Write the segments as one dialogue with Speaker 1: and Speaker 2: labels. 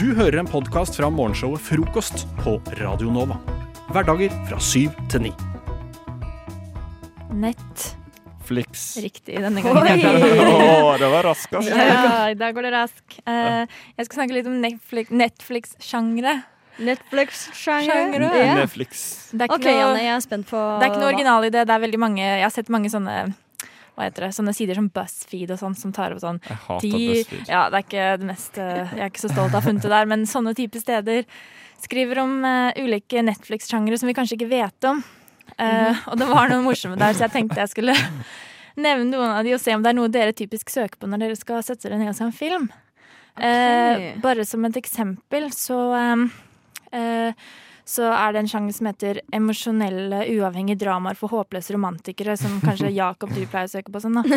Speaker 1: Du hører en podkast fra morgenshowet Frokost på Radio Nova. Hverdager fra syv til ni.
Speaker 2: Flix.
Speaker 3: Riktig denne
Speaker 2: Å,
Speaker 3: gangen.
Speaker 2: det var raskt, altså.
Speaker 3: Ja, I dag går det rask. Eh, jeg skal snakke litt om Netflix- Netflix-sjangre.
Speaker 4: Netflix-sjanger.
Speaker 3: Sjangre.
Speaker 4: Ja.
Speaker 2: Netflix.
Speaker 3: Det er ikke
Speaker 4: OK,
Speaker 3: noe-
Speaker 4: Janne, jeg er spent på
Speaker 3: Det er ikke noe original i det. Det er veldig mange, jeg har sett mange sånne hva heter det, sånne sider som BuzzFeed og sånn, som tar opp sånn
Speaker 2: Jeg hater
Speaker 3: ti
Speaker 2: BuzzFeed.
Speaker 3: Ja, det er ikke det mest eh, Jeg er ikke så stolt av å ha funnet det der, men sånne type steder skriver om eh, ulike Netflix-sjangre som vi kanskje ikke vet om. Eh, Og det var noe morsomme der, så jeg tenkte jeg skulle nevne noen av de og se om det er noe dere typisk søker på når dere skal sette dere ned og se en film. Eh, bare som et eksempel, så eh, eh, så er det en sjanger som heter emosjonelle uavhengige dramaer for håpløse romantikere, som kanskje Jakob du pleier å søke på sånn, da.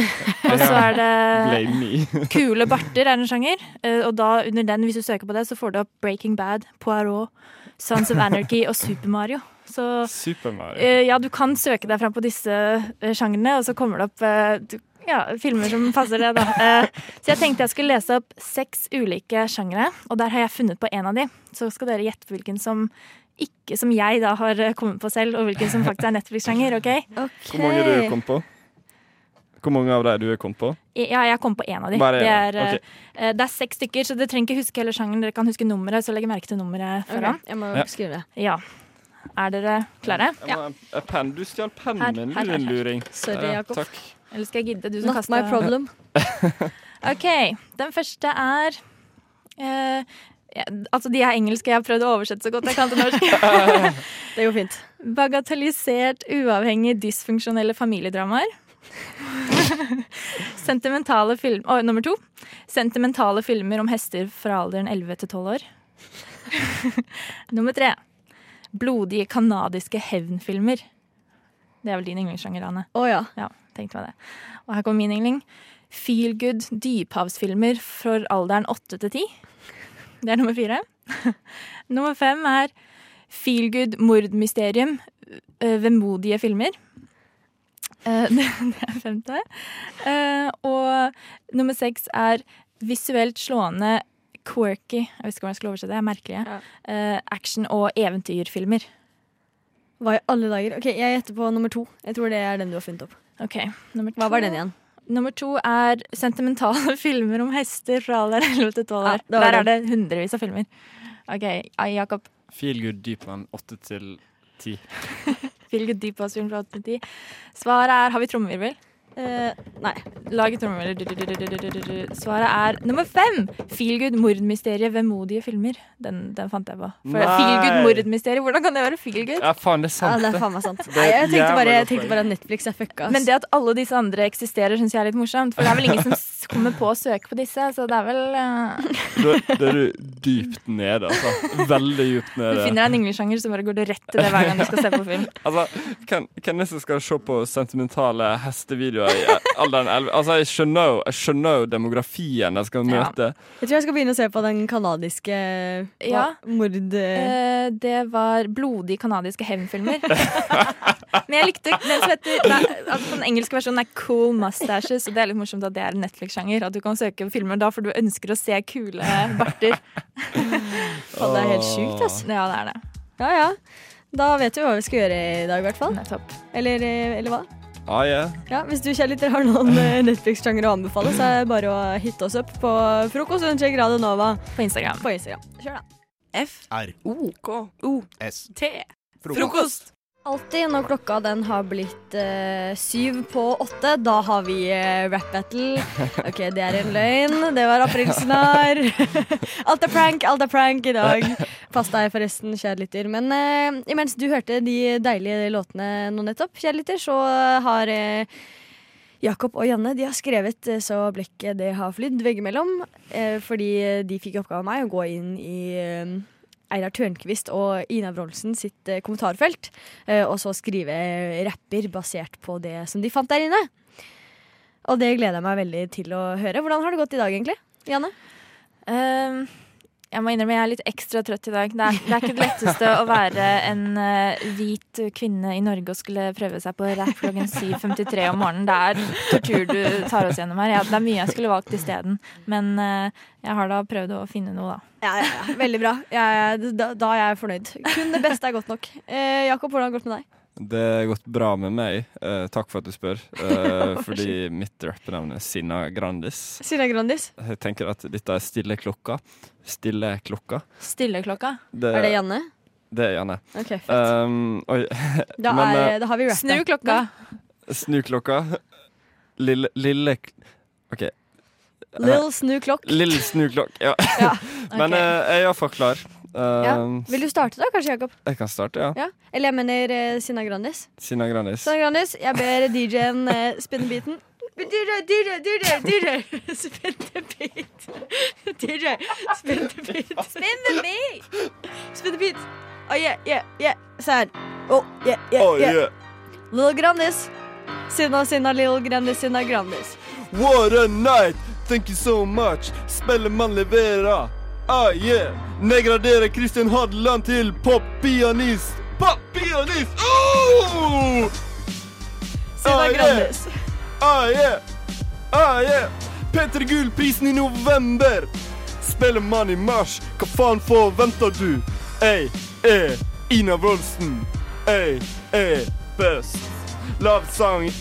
Speaker 3: Og så er det
Speaker 2: Blame me.
Speaker 3: Kule barter er en sjanger, eh, og da under den, hvis du søker på det, så får du opp Breaking Bad, Poirot, Sons of Anarchy og Super Mario. Så
Speaker 2: Super Mario.
Speaker 3: eh, ja, du kan søke deg fram på disse eh, sjangrene, og så kommer det opp eh, du, ja, filmer som passer det, da. Eh, så jeg tenkte jeg skulle lese opp seks ulike sjangre, og der har jeg funnet på en av de. Så skal dere gjette hvilken som ikke, som jeg da har eh, kommet på selv, og hvilken som faktisk er Netflix-sjanger, OK?
Speaker 4: Ok.
Speaker 2: Hvor mange du kom på? Hvor mange av de du kom på?
Speaker 3: Ja, jeg kom på én av de.
Speaker 2: Bare en,
Speaker 3: det, er,
Speaker 2: ok.
Speaker 3: eh, det er seks stykker, så dere trenger ikke huske hele sjangeren. Dere kan huske nummeret, så legge merke til nummeret
Speaker 4: Ok,
Speaker 3: foran.
Speaker 4: Jeg må
Speaker 2: Ja.
Speaker 4: skrive det.
Speaker 3: Ja. Er dere klare?
Speaker 2: Jeg må ha en- en Eh, penn. Du stjal
Speaker 3: Her,
Speaker 2: pennen min,
Speaker 3: her,
Speaker 2: du
Speaker 3: her, her.
Speaker 2: din luring.
Speaker 4: Sorry,
Speaker 2: Ja,
Speaker 4: Jakob.
Speaker 2: Takk.
Speaker 3: Eller skal jeg gidde? Du som
Speaker 4: Not my
Speaker 3: kastet-
Speaker 4: problem.
Speaker 3: OK. Den første er eh, ja, Altså, de er engelske. Jeg har prøvd å oversette så godt jeg kan til norsk.
Speaker 4: Det går fint.
Speaker 3: Bagatellisert, uavhengig, dysfunksjonelle familiedramaer. Sentimentale film... Å, nummer to. Sentimentale filmer om hester fra alderen 11 til 12 år. nummer tre. Blodige kanadiske hevnfilmer. Det er vel din yndlingssjanger, Ane.
Speaker 4: Å ja.
Speaker 3: Ja, tenkte meg det. Og her kommer min yndling. Feel good dyphavsfilmer for alderen 8 til 10. Det er nummer fire. nummer fem er feel good mordmysterium, ø, vemodige filmer. Eh, Det det er femte. Eh, Og nummer seks er visuelt slående quirky Jeg vet ikke om jeg skal oversette det, jeg er merkelig.
Speaker 4: Ja.
Speaker 3: eh, Action- og eventyrfilmer.
Speaker 4: Hva i alle dager? Ok, Jeg gjetter på nummer to. Jeg tror det er den du har funnet opp.
Speaker 3: Ok, nummer
Speaker 4: Hva var
Speaker 3: to.
Speaker 4: den igjen?
Speaker 3: Nummer to er sentimentale filmer om hester fra alder 11 til 12
Speaker 4: Ja,
Speaker 3: år.
Speaker 4: det var
Speaker 3: Der
Speaker 4: det.
Speaker 3: er det hundrevis av filmer. OK, ai, Jakob.
Speaker 2: Feel good dypland 8 til 10.
Speaker 3: Hvilket dyp var film fra 810? Svaret er Har vi trommevirvel?
Speaker 4: Eh, nei.
Speaker 3: Lag et trommevirvel. Du, du, du, du, du, du, du. Svaret er nummer fem! Feelgood mordmysterie, vemodige filmer. Den, den fant jeg på. For
Speaker 2: Nei!
Speaker 3: feelgood mordmysterie, hvordan kan det være feelgood?
Speaker 2: Ja, faen, det er
Speaker 4: Ja,
Speaker 2: sant.
Speaker 4: det
Speaker 2: det.
Speaker 4: er faen meg sant.
Speaker 2: er
Speaker 4: Nei, jeg tenkte
Speaker 2: jævla
Speaker 4: bare, jeg
Speaker 2: godt poeng.
Speaker 4: tenkte bare at Netflix er fucka. ass.
Speaker 3: Men det at alle disse andre eksisterer, syns jeg er litt morsomt. For det er vel ingen som s- kommer på å søke på disse, så det er vel eh,
Speaker 2: Da, da er du dypt nede, altså. Veldig dypt
Speaker 3: Du
Speaker 2: nede.
Speaker 3: finner deg en ynglesjanger, så bare går du rett til det hver gang du skal se på film.
Speaker 2: Altså, hvem hvem er det som skal se på sentimentale hestevideoer i alderen 11? Altså, jeg skjønner jo, jeg skjønner jo demografien jeg skal
Speaker 3: Ja.
Speaker 2: møte.
Speaker 4: Jeg tror jeg skal begynne å se på den kanadiske hva-
Speaker 3: Ja.
Speaker 4: mord...
Speaker 3: Eh, det var blodige kanadiske hevnfilmer. Men jeg likte den som heter nei, altså Den engelske versjonen er Cool Mustaches, og det er litt morsomt at det er en Netflix-sjanger. At du kan søke på filmer da, for du ønsker å se kule barter.
Speaker 4: Faen, det er helt sjukt, ass.
Speaker 3: Ja, det er det.
Speaker 4: Ja, ja. Da vet vi hva vi skal gjøre i dag, i hvert fall.
Speaker 3: Nettopp.
Speaker 4: Eller, eh, eller hva?
Speaker 2: Ah, yeah.
Speaker 4: Ja, Hvis du kjærligheter har noen eh, Netflix-sjangere å anbefale, så er det bare å hitte oss opp på frokost under Radio Nova
Speaker 3: På Instagram.
Speaker 4: på Instagram. Kjør, da.
Speaker 5: F-R-O-K-O-S-T.
Speaker 4: Frokost. Alltid når klokka den har blitt eh, syv på åtte, da har vi eh, rap battle. OK, det er en løgn. Det var aprilsnarr. alt er prank, alt er prank i dag. Pass deg forresten, kjære lytter. Men eh, imens du hørte de deilige låtene nå nettopp, kjære lytter, så har eh, Jakob og Janne de har skrevet eh, så blekket det har flydd veggimellom. eh, Fordi eh, de fikk i oppgave av meg å gå inn i eh, Einar Tørnquist og Ina Wroldsen sitt eh, kommentarfelt. eh, Og så skrive rapper basert på det som de fant der inne. Og det gleder jeg meg veldig til å høre. Hvordan har det gått i dag, egentlig? Janne?
Speaker 3: Ehm, Jeg må innrømme jeg er litt ekstra trøtt i dag. Det er, det er ikke det letteste å være en eh, hvit kvinne i Norge og skulle prøve seg på rap klokken 7.53 om morgenen. Det er tortur du tar oss gjennom her. Ja, det er mye jeg skulle valgt isteden. Men eh, jeg har da prøvd å finne noe, da.
Speaker 4: Ja, ja, ja. Veldig bra. Jeg- da, da er jeg fornøyd. Kun det beste er godt nok. Eh, Jakob, hvordan har det gått med deg?
Speaker 6: Det har gått bra med meg. Eh, takk for at du spør. Eh, fordi mitt rappenavn er Sinna Grandis.
Speaker 4: Silja Grandis.
Speaker 6: Jeg tenker at dette er Stille klokka. Stille klokka.
Speaker 3: Stilleklokka.
Speaker 6: Det,
Speaker 4: Er det Janne?
Speaker 6: Det er Janne.
Speaker 4: Ok, fett.
Speaker 6: Um, oi,
Speaker 4: da,
Speaker 6: men, eh,
Speaker 4: er, da har vi rappet.
Speaker 3: Snu klokka.
Speaker 6: snu klokka. Lille, lille k- OK.
Speaker 4: Lill snu klokk.
Speaker 6: Lille snu klokk. Ja. Men
Speaker 3: Ok.
Speaker 6: eh, jeg er iallfall klar. Eh,
Speaker 4: Ja.
Speaker 7: Ehm,
Speaker 4: Vil du starte da, kanskje, Jakob?
Speaker 6: Jeg kan starte, ja.
Speaker 4: Ja. Eller jeg mener eh, Sina Grandis.
Speaker 6: Sinna Grandis.
Speaker 4: Sina Grandis, jeg ber DJ-en eh, spinne beaten. DJ, DJ, DJ, DJ, spinn the beat. DJ, spinn the beat. Spinn the beat. Spinn the beat. Oh, yeah, yeah, yeah. Sær. Oh, yeah, yeah,
Speaker 6: Oh,
Speaker 4: yeah.
Speaker 6: yeah.
Speaker 4: Lil Grandis. Sinna, Sinna, Lil Grandis, Sinna Grandis.
Speaker 6: What a night, thank you so much. Spellemann leverer. Ah, yeah. Nedgraderer Kristin Hadeland til poppianist. Poppianist! Oh!
Speaker 4: Sinna
Speaker 6: Ah, yeah.
Speaker 4: Grandis.
Speaker 6: Ah, yeah. Ah, yeah. Peter Gull-prisen i november. Spellemann i mars. Hva faen forventer du? Jeg er Ina Wroldsen. Jeg er best. Love song.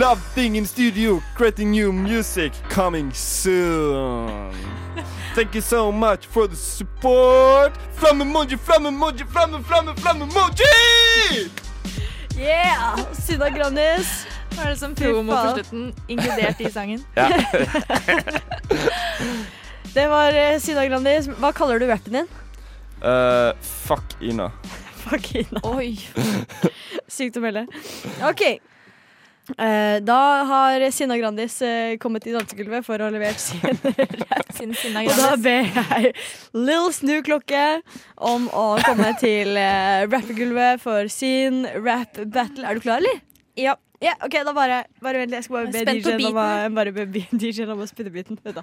Speaker 6: Love thing in studio, creating new music coming soon. Thank you so much for the support. Flamme emoji, flamme emoji, flamme, flamme, flamme emoji!
Speaker 4: Yeah! Sinna Grandis.
Speaker 3: Hva er det som
Speaker 4: promo
Speaker 3: promo
Speaker 4: på
Speaker 3: på slutten, inkludert i sangen?
Speaker 4: Det var eh, Sinna Grandis. Hva kaller du rappen din?
Speaker 6: Eh, fuck Ina.
Speaker 4: Fuck Ina.
Speaker 3: Oi.
Speaker 4: Sykt å melde. OK. Eh, da har Sinna Grandis eh, kommet i dansegulvet for å ha levert sin.
Speaker 3: Siden Sinna
Speaker 4: Og da
Speaker 3: Grandis.
Speaker 4: ber jeg Lill Snu Klokke om å komme til uh, rappegulvet for sin rap battle. Er du klar, eller? Ja. Ja, ok, da bare, bare vent litt. Jeg skal bare be
Speaker 3: Jeg er spent på
Speaker 4: DJ-en om, å- bare be be- DJ-en om å spinne biten. Vent da.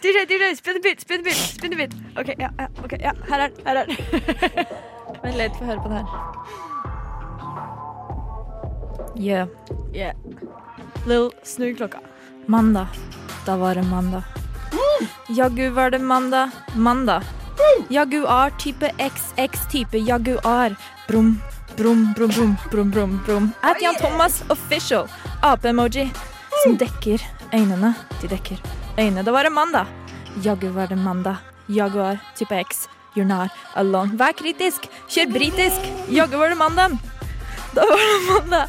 Speaker 4: DJ, DJ, spinne bit, spinne bit, spinne bit. Ok, ja, ja, ok, ja, her er den, her er den.
Speaker 3: Vent litt, få høre på det her. Jø.
Speaker 4: Yeah. Lill Snu Klokka.
Speaker 3: Mandag. Da var det mandag.
Speaker 4: Mm.
Speaker 3: Jaggu var det mandag. Mandag. Jaguar type XX type Jaguar. Brum, brum, brum, brum, brum, brum, brum. At Jan Thomas official. Ape-emoji. Som dekker øynene. De dekker øynene. Da var det mandag. Jaggu var det mandag. Jaguar type X. You're not alone. Vær kritisk. Kjør britisk. Jaggu var det mandag. Da var det mandag.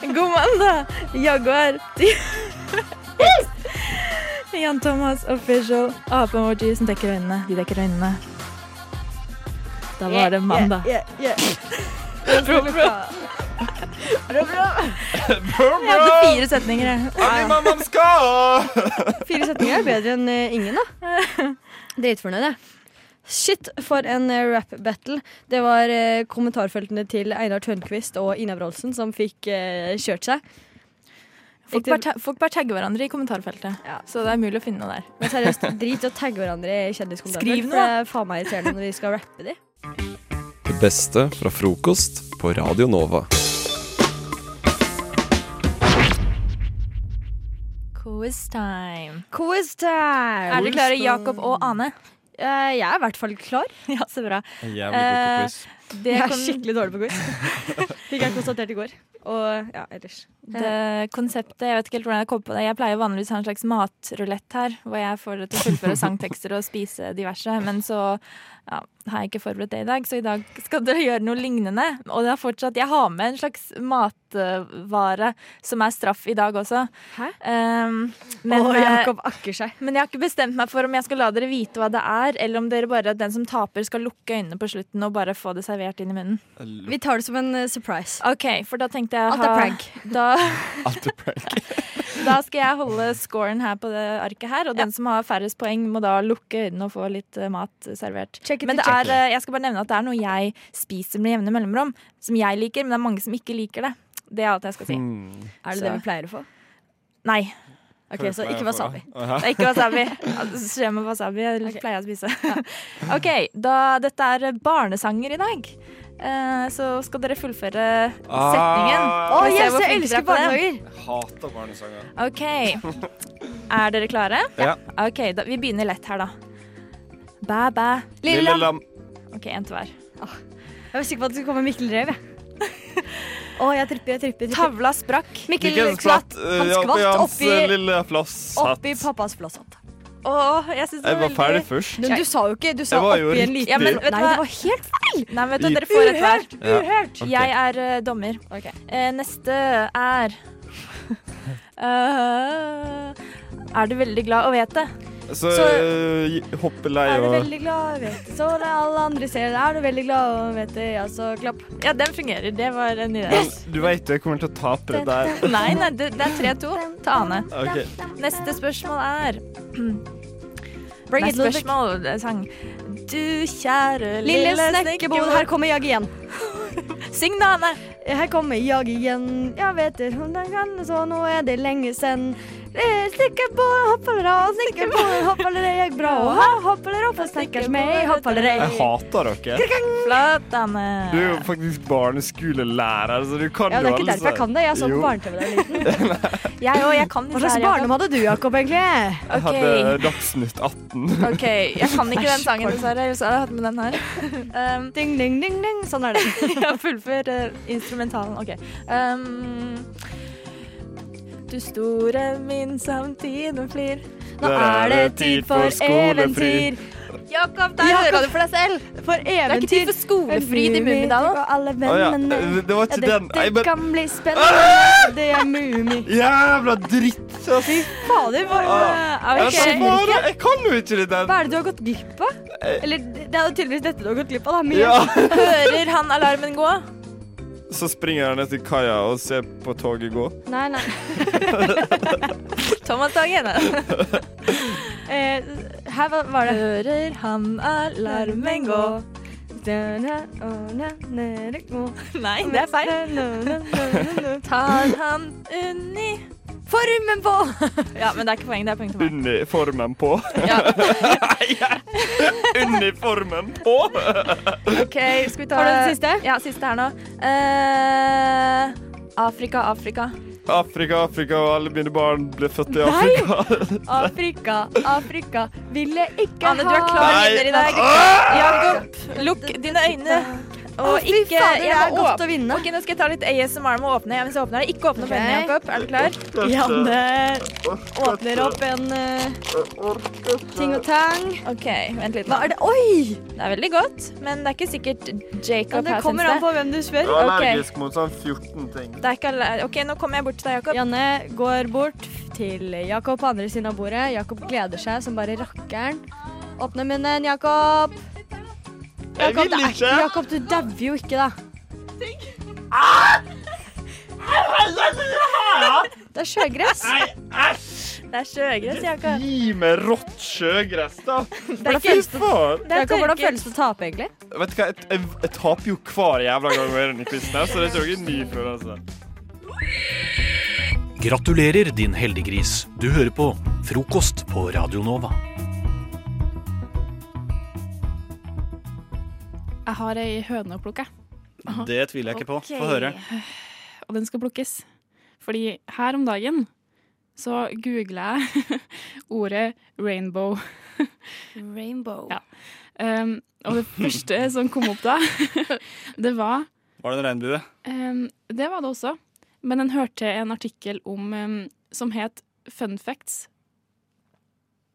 Speaker 3: God mandag. Jaguar type Jan Thomas official. Ape-emoji som dekker øynene. De dekker øynene. Da var det mandag.
Speaker 4: Yeah, yeah, yeah. Bra, bra.
Speaker 3: Jeg hadde fire setninger, jeg.
Speaker 6: Alle mamma skal!
Speaker 4: Fire setninger er bedre enn eh, ingen, da. Dritfornøyd, jeg. Shit, for en eh, rap battle. Det var eh, kommentarfeltene til Einar Tørnquist og Ina Wroldsen som fikk eh, kjørt seg.
Speaker 3: Folk bare, ta- folk bare tagger hverandre i kommentarfeltet.
Speaker 4: Ja.
Speaker 3: Så det er mulig å finne noe der.
Speaker 4: Men seriøst, drit i å tagge hverandre i
Speaker 3: Skriv
Speaker 4: kjendiskommentarfelt. For
Speaker 3: noe,
Speaker 4: det er faen meg irriterende når vi skal rappe de.
Speaker 7: Det beste fra frokost på Radio Nova.
Speaker 3: Quiz time.
Speaker 4: Quiz time!
Speaker 3: Er dere klare, Jakob og Ane?
Speaker 4: Eh, jeg er i hvert fall klar.
Speaker 3: Ja, så bra.
Speaker 6: Jævlig
Speaker 3: god på quiz. Det
Speaker 4: Jeg er
Speaker 3: kon
Speaker 4: skikkelig dårlig på quiz. Fikk jeg konstatert i går. Og ja, ellers.
Speaker 3: det konseptet, Jeg vet ikke helt hvordan jeg kom på det. Jeg pleier vanligvis å ha en slags matrulett her, hvor jeg får dere til å fullføre sangtekster og spise diverse. Men så ja, har jeg ikke forberedt det i dag, så i dag skal dere gjøre noe lignende. Og det er fortsatt, jeg har med en slags matvare som er straff i dag også.
Speaker 4: Hæ?
Speaker 3: Um,
Speaker 4: Men,
Speaker 3: men,
Speaker 4: og
Speaker 3: eh,
Speaker 4: Jakob akker seg.
Speaker 3: Men jeg har ikke bestemt meg for om jeg skal la dere vite hva det er, eller om dere bare den som taper skal lukke øynene på slutten og bare få det servert inn i munnen.
Speaker 4: Vi tar det som en eh, surprise.
Speaker 3: Ok, for da tenkte jeg
Speaker 4: Alt er
Speaker 3: ha-
Speaker 4: prank.
Speaker 3: Da,
Speaker 6: Alt er prank.
Speaker 3: da skal jeg holde scoren her på det arket her, og den som har færrest poeng må da lukke øynene og få litt eh, mat servert.
Speaker 4: Check it
Speaker 3: Men
Speaker 4: to
Speaker 3: det
Speaker 4: check
Speaker 3: er, eh, jeg skal bare nevne at det er noe jeg spiser med jevne mellomrom, som jeg liker, men det er mange som ikke liker det. Det er alt jeg skal si.
Speaker 6: Mm.
Speaker 4: Hmm. Er det
Speaker 3: Så-
Speaker 4: det vi pleier å få?
Speaker 3: Nei.
Speaker 4: OK, så ikke wasabi.
Speaker 3: Det er ikke wasabi. Ja, det Skjer med wasabi. Jeg
Speaker 4: Ok.
Speaker 3: pleier å spise. OK, da dette er barnesanger i dag, eh, så skal dere fullføre
Speaker 7: Ah.
Speaker 3: setningen.
Speaker 4: Å,
Speaker 3: Skal vi se
Speaker 4: yes,
Speaker 3: hvor
Speaker 4: jeg
Speaker 3: flinke dere
Speaker 4: elsker
Speaker 3: er på det?
Speaker 4: barnehager!
Speaker 2: Ah. Hater barnesanger.
Speaker 3: OK. Er dere klare?
Speaker 2: Ja.
Speaker 3: OK, da, vi begynner lett her, da. Bæ, bæ.
Speaker 4: Lille lam.
Speaker 3: OK, én til hver.
Speaker 4: Jeg var sikker på at det skulle komme Mikkel Rev, jeg. Å, jeg tripper, jeg tripper. jeg tripper.
Speaker 3: Tavla sprakk.
Speaker 4: Mikkel
Speaker 2: Mikkel skvatt.
Speaker 4: skvatt.
Speaker 2: eh,
Speaker 4: Han
Speaker 2: ja, på
Speaker 4: skvatt
Speaker 2: hans, eh,
Speaker 4: oppi,
Speaker 2: lille flass.
Speaker 4: oppi pappas flosshatt.
Speaker 3: Å, jeg syns det
Speaker 2: Jeg
Speaker 3: var
Speaker 2: var ferdig
Speaker 3: veldig
Speaker 2: først.
Speaker 4: Men du sa jo ikke Du sa
Speaker 2: Jeg var jo
Speaker 4: oppi en
Speaker 2: riktig.
Speaker 4: liten
Speaker 3: Ja, men vet du
Speaker 4: Nei,
Speaker 3: hva?
Speaker 4: det var helt
Speaker 3: Nei, vet du, dere får et hver.
Speaker 5: Ja.
Speaker 4: uhørt!
Speaker 5: Ok.
Speaker 3: Jeg er eh, dommer.
Speaker 4: Ok.
Speaker 3: Eh, neste er Eh, Er du veldig glad å vite?
Speaker 2: Så,
Speaker 4: Så-
Speaker 2: eh, hopper lei
Speaker 4: Er du
Speaker 2: og
Speaker 4: veldig glad, vet du, så det alle andre ser det. Er du veldig glad, vet du, ja, så klapp.
Speaker 3: Ja, den fungerer. Det var en idé.
Speaker 2: Du veit jeg kommer til å tape det der.
Speaker 3: Nei, nei, det, det er 3-2 til Ane.
Speaker 2: Ok.
Speaker 3: Neste spørsmål er
Speaker 4: Bring
Speaker 3: Nei,
Speaker 4: it, Ludvig.
Speaker 3: spørsmål, det er sang. Du kjære
Speaker 4: Lille snekkerbod, her kommer jeg igjen.
Speaker 3: Syng da, Ane.
Speaker 4: Her kommer jeg igjen. Jeg vet det, hun er grann, så nå er det lenge sen. Eh, Snekkerbod, hoppalera, snekkerbod, hoppalera, jeg bra. Og her hoppalera, for snakkers meg, hoppalera.
Speaker 2: Jeg hater dere.
Speaker 3: Flott, Ane.
Speaker 2: Du er jo faktisk barneskolelærer, så du kan
Speaker 4: Ja, det
Speaker 2: jo
Speaker 4: er ikke derfor jeg kan det. Jeg så
Speaker 2: Jo.
Speaker 4: på barne-TV da jeg var liten.
Speaker 3: Jeg òg. Jeg kan
Speaker 4: Hva slags barndom hadde du, Jakob, egentlig?
Speaker 2: Jeg hadde Dagsnytt 18.
Speaker 3: OK, jeg kan ikke den sangen, dessverre. Ellers hadde jeg hatt med den her. Um,
Speaker 4: Ding, ding, ding, ding. Sånn er det.
Speaker 3: Ja, fullfør eh, instrumentalen. OK. Um, du store min samtiden flyr
Speaker 4: Nå er det tid for eventyr.
Speaker 3: Jakob,
Speaker 4: der hører
Speaker 3: du for deg selv!
Speaker 4: For
Speaker 3: Det er ikke tid
Speaker 4: eventyr.
Speaker 3: for skolefri i Mummidalen.
Speaker 6: Oh,
Speaker 2: Å ja,
Speaker 6: Uh,
Speaker 2: det det var ikke den. Jeg
Speaker 4: Dette
Speaker 2: bare
Speaker 4: kan bli spennende. Det er Mumi.
Speaker 2: Jævla dritt! ass.
Speaker 4: Fader, hva,
Speaker 3: Ah,
Speaker 2: Jeg,
Speaker 3: ok.
Speaker 2: svarer- jeg kan jo ikke det der.
Speaker 4: hva er det du har gått glipp av? Eller det er jo tydeligvis dette du har gått glipp av. Da. Mye.
Speaker 2: Ja.
Speaker 3: Hører han alarmen gå?
Speaker 2: Så springer jeg ned til kaia og ser på toget gå.
Speaker 4: Nei, nei.
Speaker 3: Thomas Tangen.
Speaker 4: Eh, her var, var det
Speaker 3: Hører han alarmen gå? Nei, det er feil. Tar han uniformen på? Ja, men det er ikke poeng. Det er poeng til meg.
Speaker 2: Uniformen på.
Speaker 3: Ja,
Speaker 2: Uniformen på!
Speaker 3: OK, skal vi ta
Speaker 4: Har du den siste?
Speaker 3: Ja, siste her nå. Eh, Afrika, Afrika.
Speaker 2: Afrika, Afrika, og alle mine barn ble født i Afrika.
Speaker 4: Afrika, Afrika, ville ikke
Speaker 3: Ane, du er klar
Speaker 2: Nei.
Speaker 3: vinner i dag.
Speaker 2: Ah!
Speaker 3: Jakob, lukk dine øyne. Og ikke
Speaker 4: fader, det
Speaker 3: jeg
Speaker 4: er
Speaker 3: må
Speaker 4: godt
Speaker 3: åpne.
Speaker 4: å vinne.
Speaker 3: Ok, Nå skal jeg ta litt ASMR med å åpne. Ja, hvis jeg åpner det. Ikke åpne
Speaker 4: Ok.
Speaker 3: øynene, Jakob. Er du klar?
Speaker 4: Janne åpner opp en eh, ting og tang.
Speaker 3: OK, vent litt.
Speaker 4: Hva
Speaker 3: nå.
Speaker 4: er det? Oi!
Speaker 3: Det er veldig godt, men det er ikke sikkert
Speaker 4: Ja,
Speaker 3: Jacob
Speaker 4: det
Speaker 3: her
Speaker 4: kommer an
Speaker 3: syns det.
Speaker 4: på hvem du spør.
Speaker 3: er allergisk
Speaker 2: mot sånn 14 ting.
Speaker 3: det er ikke alle- OK, nå kommer jeg bort til deg, Jakob.
Speaker 4: Janne går bort til Jakob på andre siden av bordet. Jakob gleder seg som bare rakkeren. Åpne munnen, Jakob.
Speaker 2: Jeg
Speaker 4: Jakob,
Speaker 2: vil
Speaker 4: det er-
Speaker 2: ikke!
Speaker 4: Jakob, du dauer jo ikke, da. Det er sjøgress.
Speaker 3: Det er sjøgress, Jakob.
Speaker 2: Gi meg rått sjøgress, da.
Speaker 4: er
Speaker 2: Fy
Speaker 4: ikke-
Speaker 2: faen!
Speaker 3: er
Speaker 4: Jakob, hvordan
Speaker 3: tørket.
Speaker 4: føles det å tape, egentlig?
Speaker 2: Vet du hva, jeg, jeg, jeg taper jo hver jævla gang med denne quizen, her, så det er ikke noen ny altså. følelse.
Speaker 1: Gratulerer, din heldiggris. Du hører på Frokost på Radio Nova.
Speaker 8: Jeg har ei høne å plukke,
Speaker 1: Det tviler jeg ikke på. Få høre.
Speaker 8: og den skal plukkes. Fordi her om dagen så googla jeg ordet rainbow.
Speaker 4: Rainbow.
Speaker 8: Ja. Um, og det første som kom opp da, det var
Speaker 1: Var det en regnbue?
Speaker 8: um, Det var det også. Men den hørte en artikkel om, um, som het Fun facts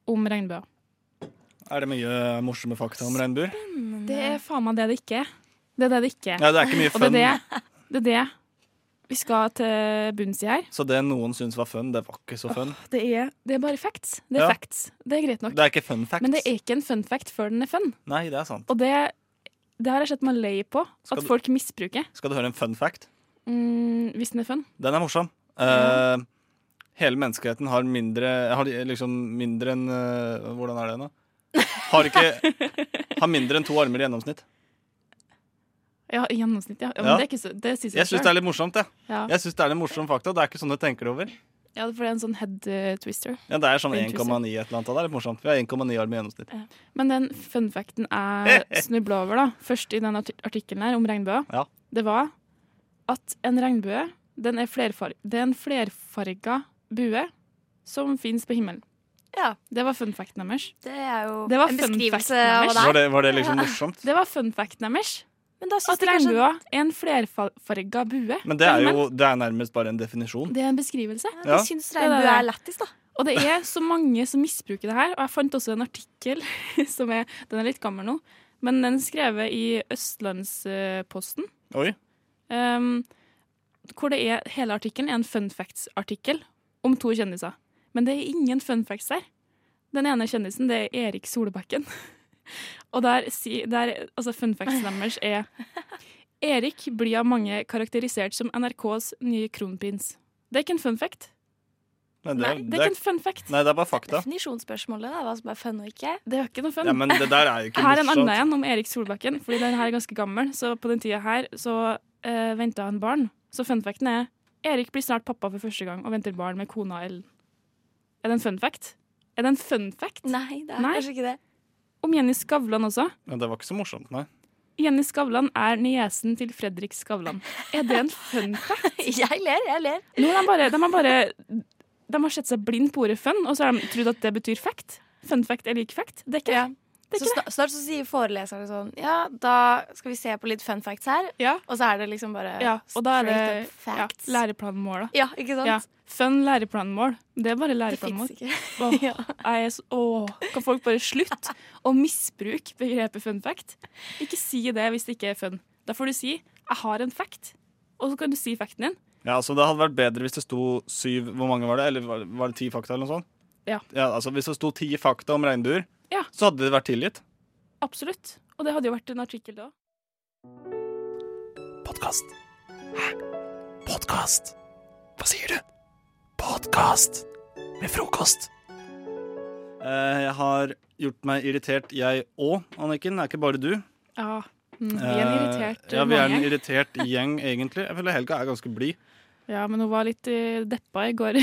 Speaker 8: om regnbuer.
Speaker 1: Er det mye morsomme fakta om regnbuer?
Speaker 8: Det er faen meg det det ikke er. Det er det det ikke er.
Speaker 1: Ja, det er ikke mye
Speaker 8: Og det
Speaker 1: fun.
Speaker 8: er det, det er det vi skal til bunns i her.
Speaker 1: Så det noen syns var fun, det var ikke så fun.
Speaker 8: Det er, det er bare facts. Det er
Speaker 1: Ja.
Speaker 8: facts. Det er greit nok.
Speaker 1: Det er ikke fun facts.
Speaker 8: Men det er ikke en fun fact før den er fun.
Speaker 1: Nei, det er sant.
Speaker 8: Og det, det har jeg sett meg lei på
Speaker 1: Skal
Speaker 8: at
Speaker 1: du-
Speaker 8: folk misbruker
Speaker 1: Skal du høre en fun fact?
Speaker 8: mm, hvis den er fun.
Speaker 1: Den er morsom. Eh, hele menneskeheten har mindre Har de liksom mindre enn eh, Hvordan er det nå? Har ikke Har mindre enn to armer i gjennomsnitt.
Speaker 8: Ja, i gjennomsnitt, ja. ja, men
Speaker 1: Ja.
Speaker 8: Det, er ikke så, det sier seg
Speaker 1: Jeg syns det er litt morsomt, jeg.
Speaker 8: selv. Ja.
Speaker 1: Jeg synes det er litt morsom fakta. Det er ikke sånn du tenker det over.
Speaker 8: Ja, for det er en sånn head eh, twister.
Speaker 1: Ja, det er sånn
Speaker 8: Det er
Speaker 1: 1,9 et
Speaker 8: interessant.
Speaker 1: eller annet. og Det er litt morsomt. Vi har 1,9 arm i gjennomsnitt.
Speaker 8: Men den funfacten jeg snubla over, da, først i den arti- artikkelen her om regnbua,
Speaker 1: Ja.
Speaker 8: det var at en regnbue den er, flerfar det er en flerfarga bue som fins på himmelen.
Speaker 9: Ja.
Speaker 8: Det var funfacten deres.
Speaker 9: Det er jo
Speaker 8: Det var
Speaker 9: en
Speaker 8: fun
Speaker 9: beskrivelse
Speaker 8: facten
Speaker 9: av
Speaker 8: deres.
Speaker 9: hva det
Speaker 1: Var
Speaker 9: er.
Speaker 1: det, var det liksom morsomt?
Speaker 8: Det var funfacten deres.
Speaker 9: Men da syns
Speaker 8: At
Speaker 9: jeg kanskje
Speaker 8: regnbua er en flerfarga bue.
Speaker 1: Men det er jo det er nærmest bare en definisjon.
Speaker 8: Det er en beskrivelse.
Speaker 1: Ja.
Speaker 9: Jeg syns regnbue
Speaker 8: det.
Speaker 9: er lættis, da.
Speaker 8: Og det er så mange som misbruker det her. Og jeg fant også en artikkel som er Den er litt gammel nå, men den er skrevet i Østlandsposten.
Speaker 1: Oi.
Speaker 8: Um, hvor det er hele artikkelen er en fun facts-artikkel om to kjendiser. Men det er ingen fun facts der. Den ene kjendisen det er Erik Solbakken. Og der, si, der altså fun facts deres er Erik blir av mange karakterisert som NRKs nye kronprins. Det er ikke en fun fact.
Speaker 1: Nei,
Speaker 9: Nei,
Speaker 8: Det
Speaker 1: det, det,
Speaker 8: er ikke
Speaker 1: er,
Speaker 8: en fun fact.
Speaker 1: nei, det er bare fakta.
Speaker 9: Definisjonsspørsmålet, da, hva som er fun og ikke.
Speaker 8: Det er ikke noe fun.
Speaker 1: Ja, men det der er jo ikke
Speaker 8: Her er en annen
Speaker 1: morsomt.
Speaker 8: en om Erik Solbakken, fordi den her er ganske gammel. Så på den tida her så uh, venta han barn. Så fun facten er Erik blir snart pappa for første gang og venter barn med kona Ellen. Er det en fun fact? Er det en fun fact?
Speaker 9: Nei, det er
Speaker 8: Nei.
Speaker 9: kanskje ikke det.
Speaker 8: Om Jenny Skavlan også.
Speaker 1: Men det var ikke så morsomt, nei.
Speaker 8: Jenny Skavlan er niesen til Fredrik Skavlan. Er det en fun fact?
Speaker 9: Jeg ler, jeg ler.
Speaker 8: Nå har de bare, de har bare De har sett seg blind på ordet fun, og så har de trodd at det betyr fact. Fun fact er lik fact. Det er ikke
Speaker 9: Ja.
Speaker 8: det. er
Speaker 9: Så
Speaker 8: ikke
Speaker 9: snart, snart så sier foreleserne sånn Ja, da skal vi se på litt fun facts her.
Speaker 8: Ja.
Speaker 9: Og så er det liksom bare
Speaker 8: Ja, og da er det
Speaker 9: straight up
Speaker 8: ja,
Speaker 9: facts. Ja,
Speaker 8: læreplanmål, da.
Speaker 9: ikke
Speaker 8: Ja.
Speaker 9: sant?
Speaker 8: Fun læreplanmål. Det er bare
Speaker 9: det fins
Speaker 8: læreplanmål.
Speaker 9: ikke.
Speaker 8: Åh, jeg er så, åh, kan folk bare slutte å misbruke begrepet fun fact? Ikke si det hvis det ikke er fun. Da får du si 'jeg har en fact', og så kan du si facten din.
Speaker 1: Ja, altså Det hadde vært bedre hvis det sto syv Hvor mange var det? Eller var, var det ti fakta? eller noe sånt?
Speaker 8: Ja.
Speaker 1: altså Hvis det sto ti fakta om regnbuer,
Speaker 8: Ja.
Speaker 1: så hadde det vært tilgitt.
Speaker 8: Absolutt. Og det hadde jo vært en artikkel da.
Speaker 5: Podkast. Hæ? Podkast? Hva sier du? Podkast med frokost.
Speaker 1: Eh, jeg har gjort meg irritert, jeg òg, Anniken. Det er ikke bare du.
Speaker 8: Ja. Mm, vi er en irritert
Speaker 1: Eh, ja, vi er en
Speaker 8: mange.
Speaker 1: irritert gjeng, egentlig. Jeg føler Helga er ganske blid.
Speaker 8: Ja, men hun var litt eh, deppa i går.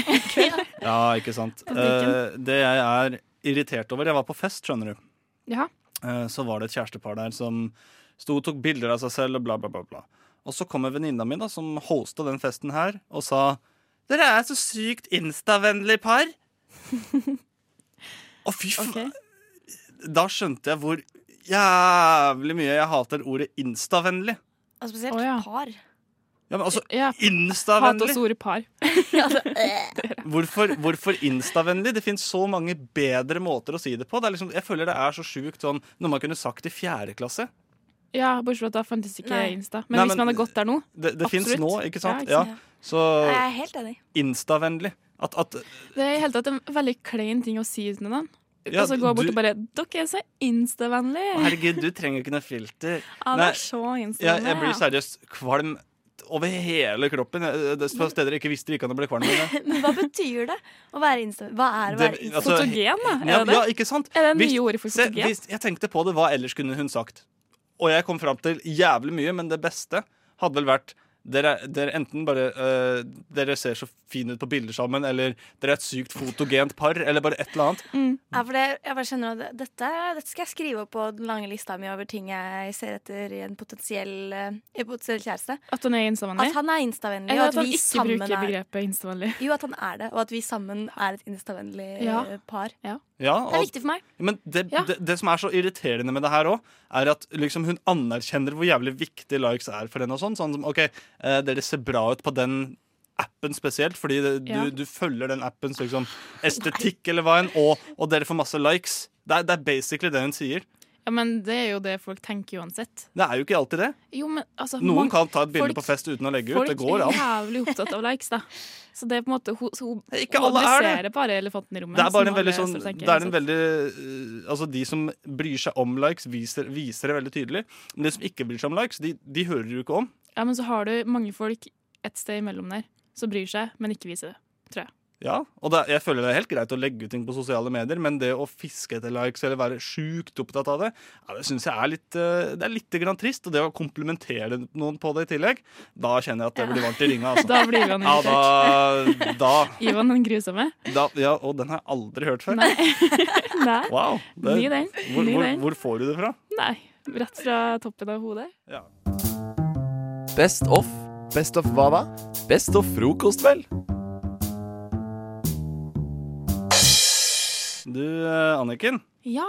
Speaker 1: Ja, ikke sant.
Speaker 8: blinken.
Speaker 1: Eh, det jeg er irritert over Jeg var på fest, skjønner du.
Speaker 8: Ja.
Speaker 1: Eh, så var det et kjærestepar der som sto og tok bilder av seg selv og bla, bla, bla. bla. Og så kommer venninna mi, da, som hosta den festen her, og sa Dere er så sykt instavennlig par. Å, fy faen.
Speaker 8: Ok.
Speaker 1: Da skjønte jeg hvor jævlig mye jeg hater ordet instavennlig.
Speaker 9: Og spesielt
Speaker 8: Å, ja.
Speaker 9: par.
Speaker 1: Ja, men altså,
Speaker 8: Ja. Hat
Speaker 1: instavennlig!
Speaker 8: oss ordet par.
Speaker 1: Hvorfor, hvorfor instavennlig? Det finnes så mange bedre måter å si det på. Det er liksom, jeg føler det er så sjukt sånn noe man kunne sagt i fjerde klasse.
Speaker 8: Ja, Bortsett fra at da fantes ikke
Speaker 9: Nei.
Speaker 8: Insta. Men
Speaker 1: Nei,
Speaker 8: hvis
Speaker 1: men-
Speaker 8: man hadde gått der nå
Speaker 1: Det, det fins
Speaker 8: Absolutt.
Speaker 1: nå, ikke sant?
Speaker 8: Ja,
Speaker 1: Ja,
Speaker 8: ikke
Speaker 1: Så
Speaker 9: Jeg er helt enig.
Speaker 1: instavennlig. At, at
Speaker 8: Det er i hele tatt en veldig klein ting å si uten den.
Speaker 1: ja,
Speaker 8: og så gå bort og
Speaker 1: du,
Speaker 8: bare 'Dere er så Insta-vennlige'.
Speaker 1: Herregud, du trenger ikke noe filter.
Speaker 8: Ja, det
Speaker 1: Nei,
Speaker 8: er så
Speaker 1: Jeg,
Speaker 8: Insta-vennlig.
Speaker 1: jeg blir seriøst kvalm over hele kroppen. Jeg- Det er steder jeg ikke visste det gikk an å bli kvalm av.
Speaker 9: Men hva betyr det å være insta... Hva er å
Speaker 1: Det-
Speaker 9: være insta...
Speaker 1: altså,
Speaker 8: Fotogen, da?
Speaker 1: Ja,
Speaker 8: Er det det?
Speaker 1: ja, ikke sant?
Speaker 8: Er det
Speaker 1: Hvis-
Speaker 8: nye ordet for
Speaker 1: Se,
Speaker 8: fotogen?
Speaker 1: hvis jeg tenkte på det, hva ellers kunne hun sagt? Og jeg kom fram til jævlig mye, men det beste hadde vel vært dere, dere enten bare øh, Dere ser så fine ut på bilder sammen, eller dere er et sykt fotogent par, eller bare et eller annet.
Speaker 4: Mm.
Speaker 9: Ja, for det, jeg bare kjenner at det- dette, dette skal jeg skrive opp på den lange lista mi over ting jeg ser etter i en potensiell, eh, en potensiell kjæreste.
Speaker 8: At han er
Speaker 9: At
Speaker 8: Insta-vennlig?
Speaker 9: han er instavennlig,
Speaker 8: Eller
Speaker 9: og
Speaker 8: at
Speaker 9: at
Speaker 8: han
Speaker 9: vi
Speaker 8: ikke
Speaker 9: sammen
Speaker 8: bruker
Speaker 9: er
Speaker 8: begrepet Insta-vennlig?
Speaker 9: Jo, at han er det, og at vi sammen er et instavennlig eh,
Speaker 8: Ja.
Speaker 9: par.
Speaker 1: Ja,
Speaker 9: Det er
Speaker 1: og,
Speaker 9: viktig for meg.
Speaker 1: men det,
Speaker 8: Ja.
Speaker 1: det, det som er så irriterende med det her òg, er at liksom hun anerkjenner hvor jævlig viktig likes er for henne. og sånn, sånn som, ok, eh, Dere ser bra ut på den appen spesielt, fordi det, du,
Speaker 8: Ja.
Speaker 1: du følger den appens liksom, estetikk eller hva enn, og, og dere får masse likes. Det er, det er basically det hun sier.
Speaker 8: Ja, men det er jo det folk tenker uansett.
Speaker 1: Det er jo ikke alltid det.
Speaker 8: Jo, men altså
Speaker 1: Noen
Speaker 8: mange-
Speaker 1: kan ta et bilde
Speaker 8: folk-
Speaker 1: på fest uten å legge ut.
Speaker 8: Folk
Speaker 1: Det går
Speaker 8: er
Speaker 1: an.
Speaker 8: jævlig opptatt av likes, da. Så det er på en måte Hun, hun,
Speaker 1: Ikke
Speaker 8: hun
Speaker 1: alle er det.
Speaker 8: adresserer bare elefanten i rommet.
Speaker 1: Det er bare
Speaker 8: som
Speaker 1: en veldig
Speaker 8: alle
Speaker 1: sånn
Speaker 8: står og tenker,
Speaker 1: Det er en
Speaker 8: ikke sant?
Speaker 1: veldig øh, Altså, de som bryr seg om likes, viser, viser det veldig tydelig. Men de som ikke bryr seg om likes, de, de hører du ikke om.
Speaker 8: Ja, men så har du mange folk et sted imellom der som bryr seg, men ikke viser det.
Speaker 1: Ja, og det, jeg føler det er helt greit å legge ut ting på sosiale medier, men det å fiske etter likes eller være sjukt opptatt av det, ja, det syns jeg er litt, eh, det er litt grann trist. Og det å komplimentere noen på det i tillegg, da kjenner jeg at det blir varmt i ringa. Altså.
Speaker 10: Da blir Ivan
Speaker 1: Ja,
Speaker 10: irritert.
Speaker 1: da, da,
Speaker 10: Ivan den grusomme.
Speaker 1: da Ja, og den har jeg aldri hørt før.
Speaker 10: Nei. Nei.
Speaker 1: Wow. det-
Speaker 10: Ny den.
Speaker 1: hvor,
Speaker 10: Ny
Speaker 1: hvor,
Speaker 10: den.
Speaker 1: hvor får du det fra?
Speaker 10: Nei. Rett fra toppen av hodet.
Speaker 1: Ja.
Speaker 7: Best off.
Speaker 11: Best of hva da?
Speaker 7: Best of frokost, vel.
Speaker 1: Du, eh, Anniken.
Speaker 10: Ja.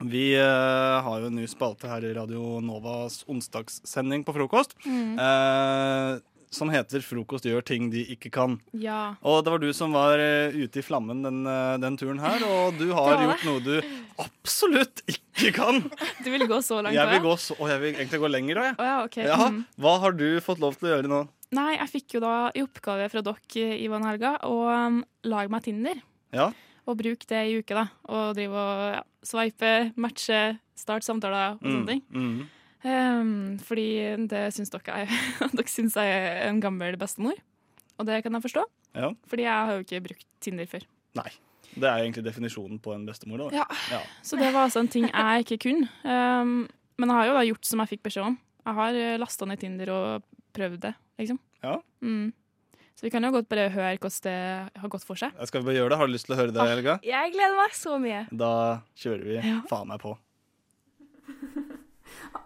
Speaker 1: Vi eh, har jo en ny spalte her i Radio Novas onsdagssending på frokost.
Speaker 10: Mm.
Speaker 1: eh, som heter 'Frokost gjør ting de ikke kan'.
Speaker 10: Ja.
Speaker 1: Og det var du som var eh, ute i flammen den, eh, den turen her, og du har
Speaker 10: Det var det.
Speaker 1: gjort noe du absolutt ikke kan.
Speaker 10: Du vil gå så langt?
Speaker 1: Jeg
Speaker 10: også,
Speaker 1: vil
Speaker 10: ja?
Speaker 1: gå så, og jeg vil egentlig gå lenger òg, jeg.
Speaker 10: Å ja, ok.
Speaker 1: Ja,
Speaker 10: Mm.
Speaker 1: hva har du fått lov til å gjøre nå?
Speaker 10: Nei, jeg fikk jo da i oppgave fra dere, Ivan Helga, å um, lage meg Tinder.
Speaker 1: Ja.
Speaker 10: Og bruke det i uke, da. Og drive og ja, sveipe, matche, starte samtaler og sånne ting.
Speaker 1: Mm.
Speaker 10: Um, fordi det syns dere er, dere syns jeg er en gammel bestemor. Og det kan jeg forstå,
Speaker 1: Ja.
Speaker 10: fordi jeg har jo ikke brukt Tinder før.
Speaker 1: Nei. Det er egentlig definisjonen på en bestemor. da.
Speaker 10: Ja. Så det var altså en ting jeg ikke kunne. Um, men jeg har jo da gjort som jeg fikk beskjed om. Jeg har lasta ned Tinder og prøvd det, liksom.
Speaker 1: Ja.
Speaker 10: Mm. Så vi kan jo godt bare høre hvordan det har gått for seg.
Speaker 1: Jeg skal bare gjøre det. Har du lyst til å høre
Speaker 10: Ah.
Speaker 1: det, Helga?
Speaker 12: Jeg gleder meg så mye.
Speaker 1: Da kjører vi
Speaker 10: Ja.
Speaker 1: faen meg på.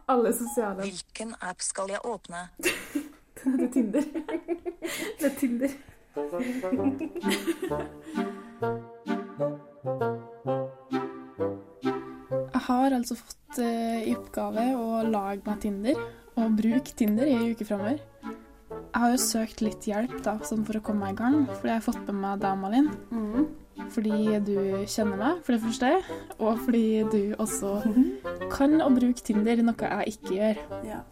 Speaker 8: Alle sosiale
Speaker 13: Hvilken app skal jeg åpne?
Speaker 8: Det er Tinder. Det er Tinder. Jeg har altså fått eh, i oppgave å lage meg Tinder, og bruke Tinder i en uke framover. Jeg har jo søkt litt hjelp da, sånn for å komme meg i gang, fordi jeg har fått med meg deg, Malin.
Speaker 5: Mm.
Speaker 8: Fordi du kjenner meg, for det første, og fordi du også kan å bruke Tinder, noe jeg ikke gjør. Ja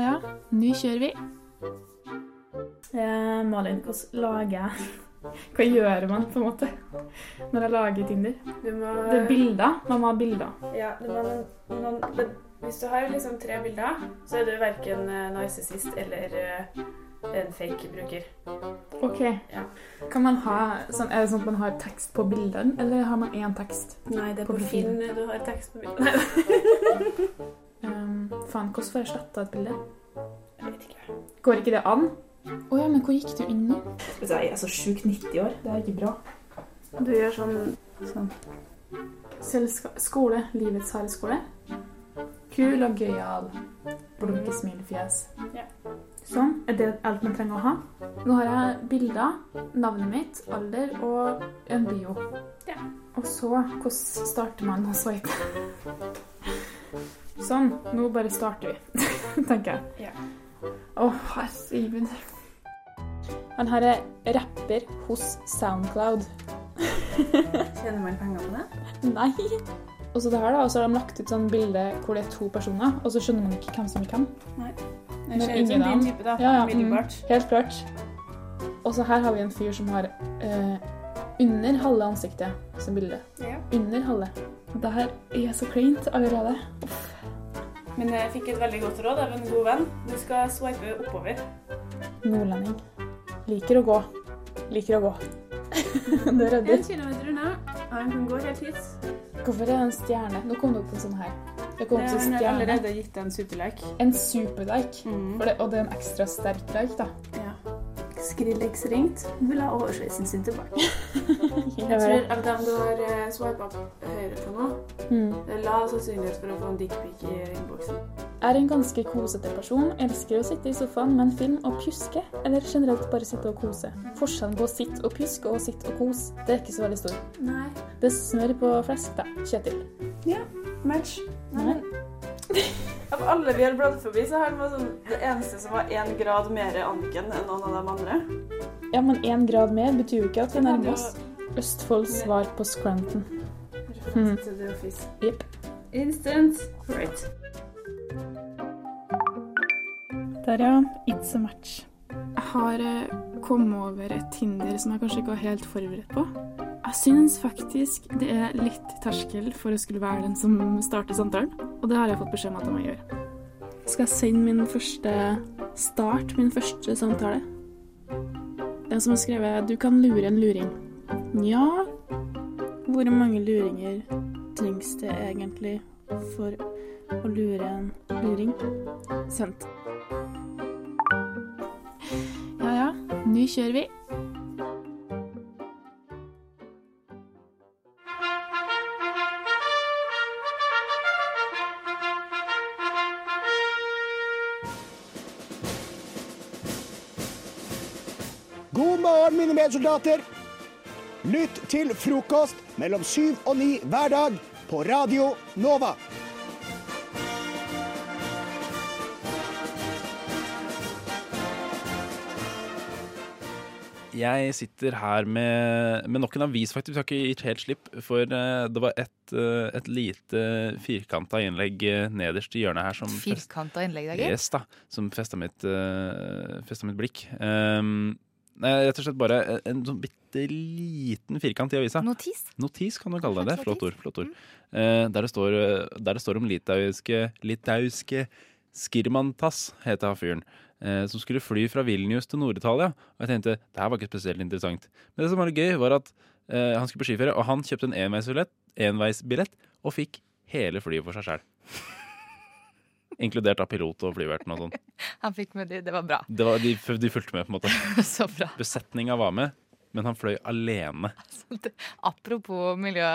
Speaker 8: ja, nå kjører vi. Eh, Malin, hvordan lager jeg Hva gjør man på en måte når jeg lager Tinder?
Speaker 5: Du må,
Speaker 8: Det er bilder. Man må ha bilder.
Speaker 5: ja, du må, noen, det, hvis du har liksom tre bilder, så er du verken eh, narsissist eller eh, en fake bruker.
Speaker 8: OK.
Speaker 5: Ja.
Speaker 8: Kan man ha, sånn, er det sånn at man har tekst på bildene, eller har man én tekst?
Speaker 5: Nei, det er
Speaker 8: På
Speaker 5: på
Speaker 8: profilen.
Speaker 5: Finn du har tekst på bildet. Nei,
Speaker 8: Ehm, faen, hvordan får jeg sletta et bilde?
Speaker 5: jeg vet ikke.
Speaker 8: Går ikke det an? Å ja, men hvor gikk du inn nå?
Speaker 5: Altså, jeg er så sjukt 90 år.
Speaker 8: Det er ikke bra.
Speaker 5: Du gjør sånn sånn.
Speaker 8: Selska skole. Livets harde skole. Kul og gøyal. Blunke smilefjes.
Speaker 5: Ja.
Speaker 8: Sånn. Er det alt man trenger å ha? Nå har jeg bilder, navnet mitt, alder og en bio.
Speaker 5: Ja.
Speaker 8: Og så Hvordan starter man å sveipe? Sånn. Nå bare starter vi, tenker jeg.
Speaker 5: Ja.
Speaker 8: Å, herregud. Han her er rapper hos Soundcloud.
Speaker 5: Tjener man penger på det?
Speaker 8: Nei. Og så det her da, og så har de lagt ut sånn bilde hvor det er to personer, og så skjønner man ikke hvem som er hvem.
Speaker 5: Jeg ser
Speaker 8: ingen
Speaker 5: ut som
Speaker 8: annen.
Speaker 5: din type, da.
Speaker 8: Ja, ja, mm.
Speaker 5: Umiddelbart.
Speaker 8: Helt klart. Og så her har vi en fyr som har eh, under halve ansiktet som bilde.
Speaker 5: Ja.
Speaker 8: Under halve. Det her er så kleint allerede.
Speaker 5: Men jeg fikk et veldig godt råd av en god venn. Du skal swipe oppover.
Speaker 8: Nordlending. Liker å gå. Liker å gå. det redder.
Speaker 5: kilometer unna. Han kan gå helt hit.
Speaker 8: Hvorfor er det en stjerne? Nå kom det opp en sånn her. Det kom opp en
Speaker 5: Han har
Speaker 8: stjerne.
Speaker 5: allerede gitt deg en superlike.
Speaker 8: En superlike.
Speaker 5: Mm.
Speaker 8: For det- Og det er en ekstra sterk like, da.
Speaker 5: Skrillex ringt, vil ha oversveisen sin tilbake. Jeg tror av dem du har eh, swipet opp høyre på nå,
Speaker 8: Mm.
Speaker 5: det er lav sannsynlighet for å få en dickpic i innboksen.
Speaker 8: Er en ganske kosete person, elsker å sitte i sofaen med en film og pjuske, eller generelt bare sitte og kose. Forskjellen på å sitte og pjuske og sitte og kose, det er ikke så veldig stor.
Speaker 5: Nei.
Speaker 8: Det er smør på flesk, da. Kjetil.
Speaker 5: Match.
Speaker 8: Nei.
Speaker 5: Av alle vi har bladd forbi, så har det vært sånn, det eneste som var én grad mer Anniken enn noen av de andre.
Speaker 8: Ja, men én grad mer betyr jo ikke at vi nærmer oss. Østfolds svar på Scranton. Mm.
Speaker 5: To the office.
Speaker 8: Jepp.
Speaker 5: Instant. Right.
Speaker 8: Der, ja. It's a match. Jeg har eh, kommet over et Tinder som jeg kanskje ikke var helt forberedt på. Jeg syns faktisk det er litt terskel for å skulle være den som starter samtalen, og det har jeg fått beskjed om at jeg må gjøre. Skal jeg sende min første start, min første samtale?
Speaker 14: eh, som har skrevet 'Du kan lure en luring'. Nja Hvor mange luringer trengs det egentlig for å lure en luring? Sendt. Ja ja, nå kjører vi.
Speaker 15: God morgen, mine medsoldater. Lytt til frokost mellom syv og ni hver dag på Radio Nova.
Speaker 16: Jeg sitter her med, med nok en avis, faktisk. Vi har ikke gitt helt slipp. For eh, det var et, eh, et lite firkanta innlegg eh, nederst i hjørnet her som fest-
Speaker 17: Firkanta innlegg, det er gøy.
Speaker 16: Yes, da. Som festa mitt, eh, festet mitt blikk. Um, nei, rett og slett bare en- en sånn bitte liten firkant i avisa.
Speaker 17: Notis?
Speaker 16: Notis kan du kalle det. det.
Speaker 17: Slags
Speaker 16: Flott ord. Flott ord. Eh, der, det står, eh, der det står om litauiske Litauiske Skirmantas, heter han fyren. eh, som skulle fly fra Vilnius til Nord-Italia. Og jeg tenkte det her var ikke spesielt interessant. Men det som var gøy, var at eh, han skulle på skiferie, og han kjøpte en enveisbillett, enveisbillett og fikk hele flyet for seg sjæl. Inkludert av pilot og flyverten og sånn.
Speaker 17: Han fikk med de, det var bra.
Speaker 16: Det var, de, de fulgte med, på en måte.
Speaker 17: Så bra.
Speaker 16: Besetninga var med, men han fløy alene.
Speaker 17: Apropos miljø.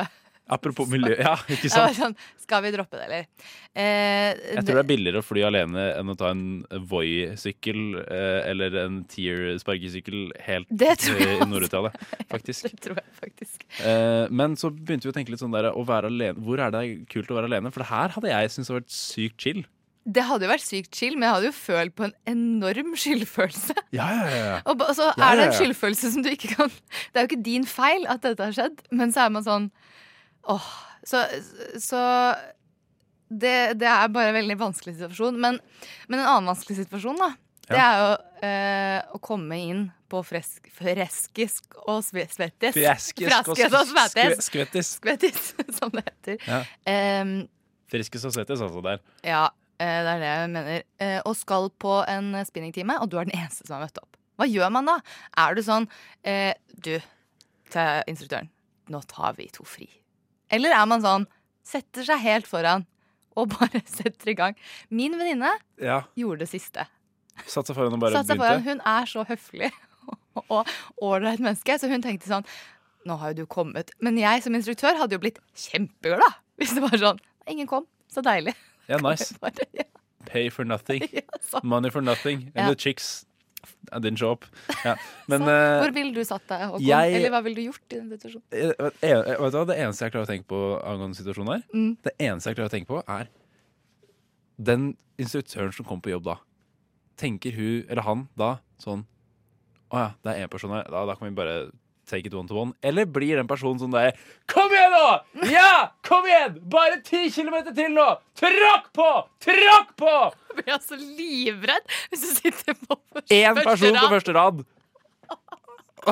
Speaker 16: Apropos miljø Ja, ikke
Speaker 17: Jeg var
Speaker 16: sant?
Speaker 17: sånn, skal vi droppe det, eller? Eh,
Speaker 16: Jeg tror det er billigere å fly alene enn å ta en Voi-sykkel eh, eller en Tier-sparkesykkel helt
Speaker 17: Det tror jeg
Speaker 16: eh, i
Speaker 17: også.
Speaker 16: Nord-Italia, faktisk.
Speaker 17: det tror jeg faktisk.
Speaker 16: Eh, men så begynte vi å tenke litt sånn der å være alene. Hvor er det kult å være alene? For det her hadde jeg syntes hadde vært sykt chill.
Speaker 17: Det hadde jo vært sykt chill, men jeg hadde jo følt på en enorm skyldfølelse.
Speaker 16: Ja, ja, ja, ja.
Speaker 17: Og ba- og så
Speaker 16: Ja,
Speaker 17: er det en
Speaker 16: ja, ja.
Speaker 17: skyldfølelse som du ikke kan Det er jo ikke din feil at dette har skjedd, men så er man sånn åh. Så, så det, det er bare en veldig vanskelig situasjon. Men, men en annen vanskelig situasjon, da, det er jo eh, å komme inn på fresk, freskisk og sve- svettis.
Speaker 16: Freskisk og
Speaker 17: Freskisk og
Speaker 16: skve-
Speaker 17: svettis.
Speaker 16: skvettis.
Speaker 17: Skvettis, som det heter.
Speaker 16: Ja.
Speaker 17: Em,
Speaker 16: Friske sossettes, altså, der.
Speaker 17: ja, eh, det er det jeg mener. Eh, Og skal på en spinningtime, og du er den eneste som har møtt opp. Hva gjør man da? Er du sånn eh, Du, til instruktøren, nå tar vi to fri. Eller er man sånn setter seg helt foran og bare setter i gang. Min venninne
Speaker 16: Ja.
Speaker 17: gjorde det siste.
Speaker 16: Satt seg foran og bare
Speaker 17: Satt seg foran.
Speaker 16: begynte.
Speaker 17: Hun er så høflig og ålreit menneske, så hun tenkte sånn Nå har jo du kommet. Men jeg som instruktør hadde jo blitt kjempeglad hvis det var sånn. Ingen kom. Så deilig.
Speaker 16: Ja, nice. Pay for nothing. Money for nothing. And
Speaker 17: Ja.
Speaker 16: the chicks I didn't show up. Ja. Men eh,
Speaker 17: Hvor ville du satt deg, Håkon?
Speaker 16: jeg-
Speaker 17: Eller hva ville du gjort i den situasjonen?
Speaker 16: jeg- jeg- jeg- vet du hva, Det eneste jeg klarer å tenke på angående situasjonen her,
Speaker 17: Mm.
Speaker 16: det eneste jeg klarer å tenke på, er den instruktøren som kom på jobb da. Tenker hun eller han da sånn Å ja, det er én person her. Da, da kan vi bare take it one to one. Eller blir den personen sånn der Kom igjen, nå! Ja! Kom igjen! Bare ti kilometer til nå! Tråkk på! Tråkk på!
Speaker 17: Jeg blir altså livredd hvis du sitter på
Speaker 16: Én
Speaker 17: første
Speaker 16: person på
Speaker 17: rad.
Speaker 16: første rad.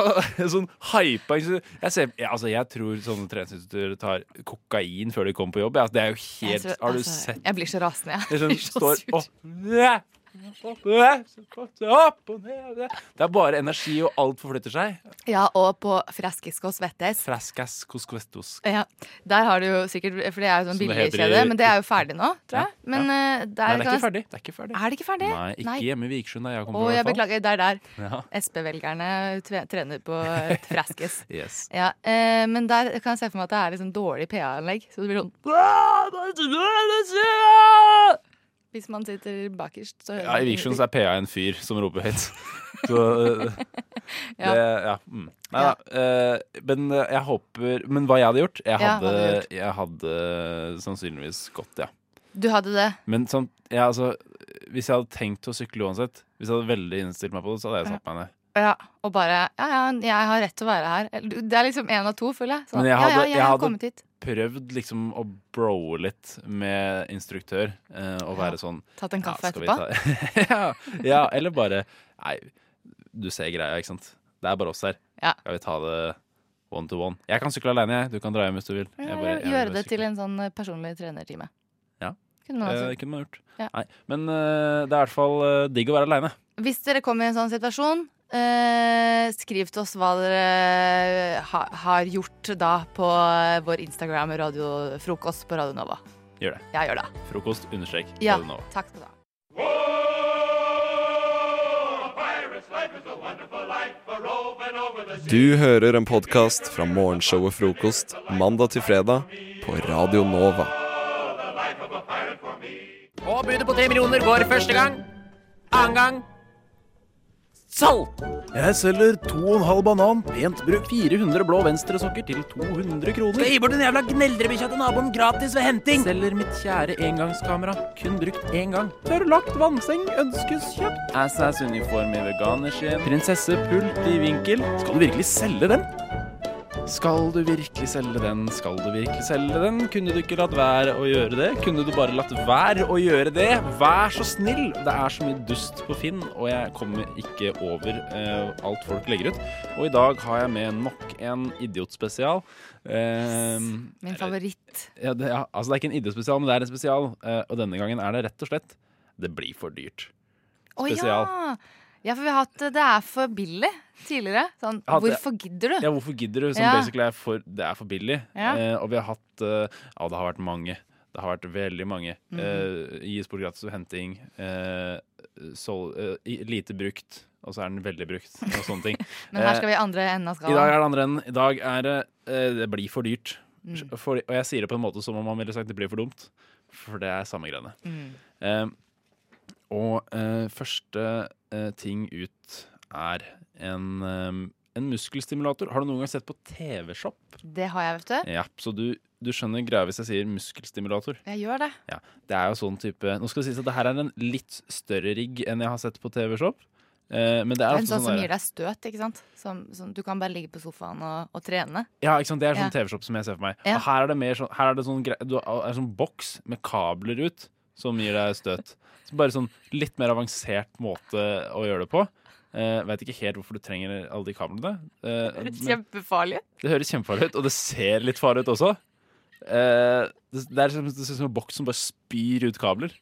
Speaker 16: Og Sånn hypa jeg, ser, ja, altså, jeg tror sånne treningsinstitutter tar kokain før de kommer på jobb. Ja. Det er jo
Speaker 17: Jeg
Speaker 16: helt
Speaker 17: tror-
Speaker 16: Har du
Speaker 17: altså,
Speaker 16: sett
Speaker 17: Jeg blir så rasende, jeg.
Speaker 16: Liksom,
Speaker 17: jeg blir så
Speaker 16: står
Speaker 17: sur.
Speaker 16: og Næ! Opp og ned, så kort, opp og ned, og ned. Det er bare energi, og alt forflytter seg.
Speaker 17: Ja, og på Freskisk og Svettes.
Speaker 16: Frescas cosquestos.
Speaker 17: Ja, der har du jo sikkert For det er jo
Speaker 16: Som
Speaker 17: sånn
Speaker 16: det heter i-
Speaker 17: billigkjede, men det er jo ferdig nå, tror jeg. Men eh,
Speaker 16: Nei,
Speaker 17: der
Speaker 16: det er
Speaker 17: kan
Speaker 16: ikke
Speaker 17: jeg-
Speaker 16: ferdig. Det er ikke ferdig.
Speaker 17: Er det ikke ferdig?
Speaker 16: Nei, ikke hjemme i Vikersund, da jeg kom
Speaker 17: Å,
Speaker 16: på. i
Speaker 17: jeg
Speaker 16: hvert fall.
Speaker 17: beklager. Det er der.
Speaker 16: Ja.
Speaker 17: SP-velgerne tre- trener på et Freskis.
Speaker 16: Yes.
Speaker 17: Ja, eh, men der kan jeg se for meg at det er liksom dårlig PA-anlegg. Så det blir sånn Hvis man sitter bakerst, så hører
Speaker 16: Ja,
Speaker 17: man
Speaker 16: I Vikersund så er PA en fyr som roper høyt. Så eh,
Speaker 17: Ja.
Speaker 16: det, ja. Mm. Nei da. eh, Men eh, jeg håper Men hva jeg hadde gjort? Jeg
Speaker 17: Ja, hva
Speaker 16: hadde,
Speaker 17: hadde du
Speaker 16: jeg hadde sannsynligvis gått, ja.
Speaker 17: Du hadde det.
Speaker 16: Men sånn, ja, altså, hvis jeg hadde tenkt å sykle uansett, hvis jeg hadde veldig innstilt meg på det, så hadde jeg satt meg ned.
Speaker 17: Ja, og bare Ja, ja, jeg har rett til å være her. Eller, Det er liksom én av to, føler jeg. Sånn,
Speaker 16: Men jeg hadde,
Speaker 17: ja, ja, jeg,
Speaker 16: jeg
Speaker 17: har kommet
Speaker 16: hadde
Speaker 17: hit.
Speaker 16: prøvd liksom å broe litt med instruktør, eh, og være sånn
Speaker 17: Tatt en kaffe
Speaker 16: skal vi
Speaker 17: etterpå?
Speaker 16: ta- ja, ja, eller bare Nei, du ser greia, ikke sant? Det er bare oss her.
Speaker 17: Ja.
Speaker 16: Skal vi ta det one to one? Jeg kan sykle alene, jeg. Du kan dra hjem hvis du vil. Jeg
Speaker 17: Ja,
Speaker 16: bare- jeg vil
Speaker 17: gjøre
Speaker 16: bare
Speaker 17: det
Speaker 16: sykle.
Speaker 17: til en sånn eh, personlig trenertime.
Speaker 16: Ja.
Speaker 17: Kunne man altså-
Speaker 16: Eh, kunne man gjort.
Speaker 17: Ja.
Speaker 16: Nei, men eh, det er i hvert fall eh, digg å være aleine.
Speaker 17: Hvis dere kommer i en sånn situasjon, Eh, skriv til oss hva dere eh, ha, har gjort da på eh, vår Instagram Radio Frokost på Radio Nova.
Speaker 16: Gjør det.
Speaker 17: Ja, gjør det.
Speaker 16: Frokost understrek
Speaker 17: Ja,
Speaker 16: Radio Nova.
Speaker 17: takk skal du ha.
Speaker 5: Du hører en podkast fra morgenshowet Frokost mandag til fredag på Radio Nova.
Speaker 18: Og budet på tre millioner går første gang. Annen gang salg.
Speaker 16: Jeg selger 2,5 banan, pent brukt 400 blå venstresokker til 200 kroner.
Speaker 18: Skal gi bort den jævla gneldrebikkja til naboen gratis ved henting.
Speaker 16: Selger mitt kjære engangskamera, kun brukt én gang. Tørrlagt vannseng ønskes kjøpt. Assas uniform i veganerskinn. Prinsesse pult i vinkel. Skal du virkelig selge den? Skal du virkelig selge den, skal du virkelig selge den? Kunne du ikke latt være å gjøre det? Kunne du bare latt være å gjøre det? Vær så snill! Det er så mye dust på Finn, og jeg kommer ikke over eh, alt folk legger ut. Og i dag har jeg med nok en idiotspesial. Uh,
Speaker 17: Min favoritt.
Speaker 16: ja, det, ja, altså det er ikke en ID-spesial, men det er en spesial. eh, og denne gangen er det rett og slett Det blir for dyrt.
Speaker 17: Å
Speaker 16: Spesial.
Speaker 17: ja! Ja, for vi har hatt Det er for billig tidligere. Sånn,
Speaker 16: Jeg hadde-
Speaker 17: hvorfor gidder du?
Speaker 16: Ja, hvorfor gidder du? Som
Speaker 17: Ja.
Speaker 16: basically er for, det er for billig.
Speaker 17: Ja.
Speaker 16: Eh, og vi har hatt eh, Ja, det har vært mange. Det har vært veldig mange.
Speaker 17: Mhm.
Speaker 16: Eh, gis bort gratis ved henting. eh, sol, eh, i- lite brukt, og så er den veldig brukt, og sånne ting.
Speaker 17: Men her
Speaker 16: Eh,
Speaker 17: skal vi i andre enden av
Speaker 16: I dag er
Speaker 17: skalaen.
Speaker 16: det andre enden. I dag er det eh, Det blir for dyrt.
Speaker 17: Mm.
Speaker 16: For, og jeg sier det på en måte som om man ville sagt det blir for dumt, for det er samme greiene.
Speaker 17: Mm.
Speaker 16: Eh, og eh, første eh, ting ut er en, eh, en muskelstimulator. Har du noen gang sett på TV-Shop?
Speaker 17: Det har jeg, vet du.
Speaker 16: Ja, så du, du skjønner greia hvis jeg sier muskelstimulator.
Speaker 17: Jeg gjør det.
Speaker 16: Ja, det er jo sånn type Nå skal det sies at det her er en litt større rigg enn jeg har sett på TV-Shop. Eh, men det er
Speaker 17: Det er en
Speaker 16: ofte
Speaker 17: sånn som
Speaker 16: der-
Speaker 17: gir deg støt, ikke sant? Som, som du kan bare ligge på sofaen og, og trene.
Speaker 16: Ja, ikke sant? Det er sånn
Speaker 17: Ja.
Speaker 16: TV-shop som jeg ser for meg.
Speaker 17: Ja.
Speaker 16: Og Her er det mer sånn, her er det sånn, grei- du har- er sånn boks med kabler ut som gir deg støt. Så bare sånn litt mer avansert måte å gjøre det på. Uh, Veit ikke helt hvorfor du trenger alle de kablene. Eh, men
Speaker 17: Kjempefarlig.
Speaker 16: det høres kjempefarlig ut, og det ser litt farlig ut også. Eh, det, det er som, det ser ut som en boks som bare spyr ut kabler.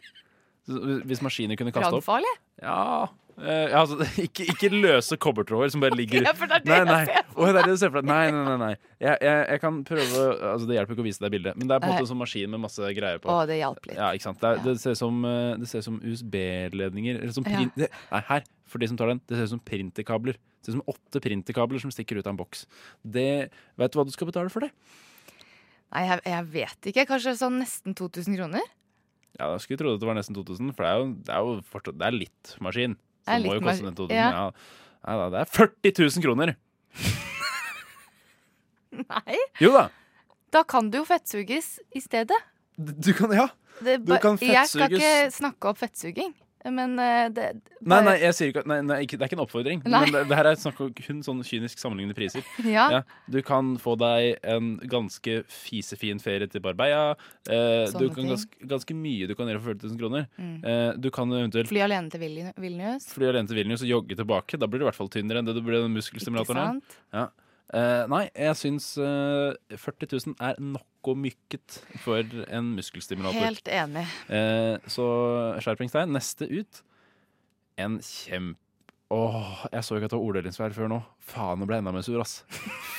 Speaker 16: Så Hvis maskiner kunne kaste opp
Speaker 17: Brannfarlig?
Speaker 16: ja. Eh, ja, altså, ikke, ikke løse kobbertråder som bare ligger
Speaker 17: ja, for det er det
Speaker 16: Nei,
Speaker 17: jeg
Speaker 16: nei.
Speaker 17: ser
Speaker 16: Å, det er det du ser for deg. Nei, nei, nei. nei. Jeg, jeg, jeg kan prøve altså, Det hjelper ikke å vise deg bildet, men det er på en
Speaker 17: Nei.
Speaker 16: måte en sånn maskin med masse greier på.
Speaker 17: Å, det hjalp litt.
Speaker 16: Ja, ikke sant? Det, er, det ser ut som, eh, det ser ut som USB-ledninger. Eller som
Speaker 17: Ja.
Speaker 16: print... det- Nei, her, for de som tar den. Det ser ut som printerkabler. Det ser ut som åtte printerkabler som stikker ut av en boks. Det, vet du hva du skal betale for det?
Speaker 17: Nei, jeg, jeg vet ikke. Kanskje sånn nesten 2000 kroner?
Speaker 16: Ja, Jeg skulle trodd at det var nesten 2000, for det er jo, det er jo fortsatt Det er litt maskin.
Speaker 17: Det er
Speaker 16: Så det må
Speaker 17: litt
Speaker 16: jo koste
Speaker 17: maskin,
Speaker 16: den 2000.
Speaker 17: ja.
Speaker 16: Ja. Nei da, det er 40 000 kroner!
Speaker 17: Nei.
Speaker 16: Jo da!
Speaker 17: Da kan du jo fettsuges i stedet.
Speaker 16: Du kan Ja!
Speaker 17: Det,
Speaker 16: Du
Speaker 17: ba-
Speaker 16: kan
Speaker 17: Jeg skal ikke
Speaker 16: fettsuges.
Speaker 17: snakke opp fettsuging, men eh, det
Speaker 16: Nei,
Speaker 17: bare-
Speaker 16: nei, jeg sier ikke, at- nei, nei ikke, det er ikke en oppfordring.
Speaker 17: Nei.
Speaker 16: Men det, det her er snakk om kun sånn kynisk sammenlignende priser.
Speaker 17: Ja.
Speaker 16: du kan få deg en ganske fisefin ferie til Barbeia. Eh, du
Speaker 17: Sånne
Speaker 16: kan
Speaker 17: ting.
Speaker 16: ganske, ganske mye du kan gjøre for 40 000 kroner.
Speaker 17: Mm.
Speaker 16: Eh, du kan eventuelt
Speaker 17: Fly alene til Vilni- Vilnius.
Speaker 16: fly alene til Vilnius og jogge tilbake. Da blir du i hvert fall tynnere enn det du ble den muskelstimulatoren.
Speaker 17: Ikke
Speaker 16: Ja. Eh, nei, jeg syns eh, 40 000 er noe mykket for en muskelstimulator.
Speaker 17: Helt enig.
Speaker 16: Eh, så skjerpings deg. Neste ut En kjempe Åh, jeg så ikke at det var orddelingsvær før nå. Faen, nå ble jeg enda mer sur, ass.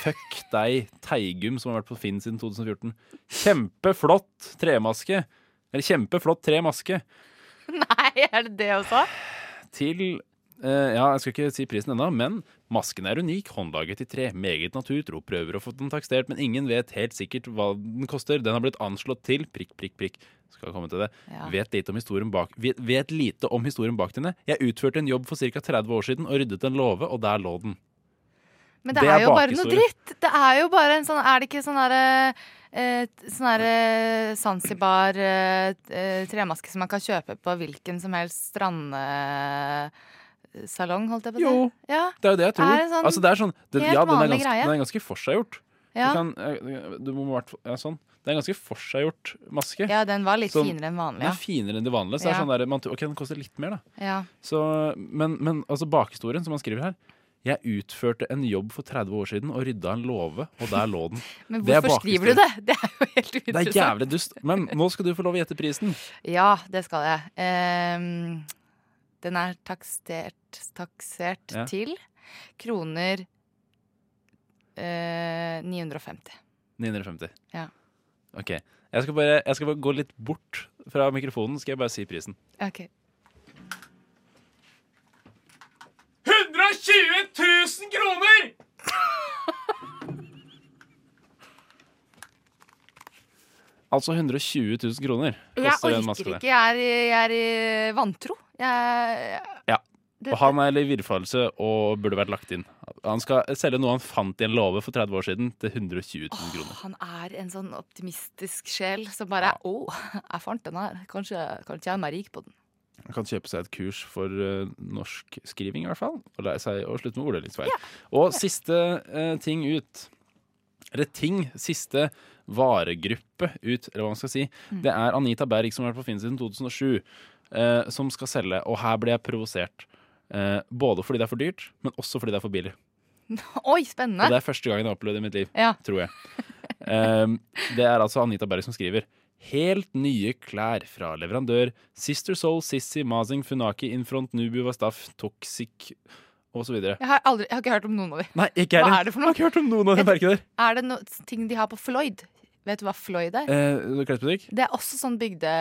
Speaker 16: Fuck deg, Teigum, som har vært på Finn siden 2014. Kjempeflott tremaske. Eller kjempeflott tremaske
Speaker 17: Nei, er det det også?
Speaker 16: til eh, Ja, jeg skal ikke si prisen ennå, men masken er unik, håndlaget i tre, meget naturtro, prøver å få den takstert, men ingen vet helt sikkert hva den koster. Den har blitt anslått til prikk, prikk, prikk. Skal komme til det.
Speaker 17: Ja.
Speaker 16: Vet, lite om historien bak, vet, vet lite om historien bak denne. Jeg utførte en jobb for ca. 30 år siden og ryddet en låve, og der lå den.
Speaker 17: Men det,
Speaker 16: Det
Speaker 17: er,
Speaker 16: er
Speaker 17: jo bare noe
Speaker 16: bakhistorie.
Speaker 17: dritt. Det er jo bare en sånn Er det ikke sånn derre Eh, t- sånn her eh, Zanzibar eh, t- eh, tremaske som man kan kjøpe på hvilken som helst strandsalong, holdt jeg på å si.
Speaker 16: Jo.
Speaker 17: Ja.
Speaker 16: Det er jo det jeg tror.
Speaker 17: Er det sånn
Speaker 16: altså, det er sånn, den,
Speaker 17: helt
Speaker 16: ja, den er
Speaker 17: vanlig
Speaker 16: ganske,
Speaker 17: greie?
Speaker 16: den er ganske forseggjort.
Speaker 17: Ja.
Speaker 16: Du kan, eh, du må, i hvert fall- ja, sånn. Det er en ganske forseggjort maske.
Speaker 17: Ja, den var litt
Speaker 16: Sånn-
Speaker 17: finere enn vanlig,
Speaker 16: Den
Speaker 17: ja.
Speaker 16: er finere enn det vanlige. Så det
Speaker 17: Ja.
Speaker 16: er sånn der, man, tror, ok, den koster litt mer, da.
Speaker 17: Ja.
Speaker 16: Så, men, men altså bakhistorien som han skriver her Jeg utførte en jobb for 30 år siden og rydda en låve, og der lå den.
Speaker 17: Men
Speaker 16: Det er
Speaker 17: hvorfor skriver du det?
Speaker 16: bakhistorien.
Speaker 17: Det er jo helt
Speaker 16: Det er
Speaker 17: uinteressant.
Speaker 16: jævlig dust. Men nå skal du få lov å gjette prisen.
Speaker 17: Ja, det skal jeg. Ehm, den er taksert, taksert
Speaker 16: Ja.
Speaker 17: til kroner eh, 950.
Speaker 16: 950.
Speaker 17: Ja.
Speaker 16: OK. Jeg skal, bare, jeg skal bare gå litt bort fra mikrofonen, skal jeg bare si prisen.
Speaker 17: Ok.
Speaker 18: 120 000 kroner!
Speaker 16: Altså 120 000 kroner.
Speaker 17: Jeg
Speaker 16: koster en
Speaker 17: orker
Speaker 16: maske der.
Speaker 17: ikke. Jeg er, i- jeg er i vantro. Jeg,
Speaker 16: Ja.
Speaker 17: Det-
Speaker 16: Og han er i villfarelse og burde vært lagt inn. Han skal selge noe han fant i en låve for 30 år siden, til 120 000 kroner.
Speaker 17: han er en sånn optimistisk sjel som bare Å, jeg fant den her. Kanskje, kanskje jeg er meg rik på den.
Speaker 16: Han kan kjøpe seg et kurs for uh, norskskriving, i hvert fall. Og lære seg å slutte med ordelingsfeil. Og siste eh, ting ut Eller ting. Siste varegruppe ut, eller hva man skal si.
Speaker 17: Mm.
Speaker 16: Det er Anita Berg, som har vært på Finn siden 2007, eh, som skal selge. Og her ble jeg provosert. eh, både fordi det er for dyrt, men også fordi det er for billig. Og
Speaker 17: Oi,
Speaker 16: det
Speaker 17: spennende!
Speaker 16: er første gangen jeg har opplevd det i mitt liv,
Speaker 17: Ja.
Speaker 16: tror jeg. Ehm, det er altså Anita Berg som skriver. Helt nye klær fra leverandør Sister Soul, Sissy, Mazing, Funaki, Infront, Nubu, Wastaf, Toxic osv.
Speaker 17: Jeg har, aldri, jeg har ikke hørt om noen av dem.
Speaker 16: Nei, ikke
Speaker 17: Hva
Speaker 16: heller.
Speaker 17: er det for noe?
Speaker 16: Jeg har ikke hørt om noen av de merkene der.
Speaker 17: Er det noe ting de har på Floyd? Vet du hva Floyd er?
Speaker 16: Eh, Klesbutikk?
Speaker 17: det er også sånn bygde,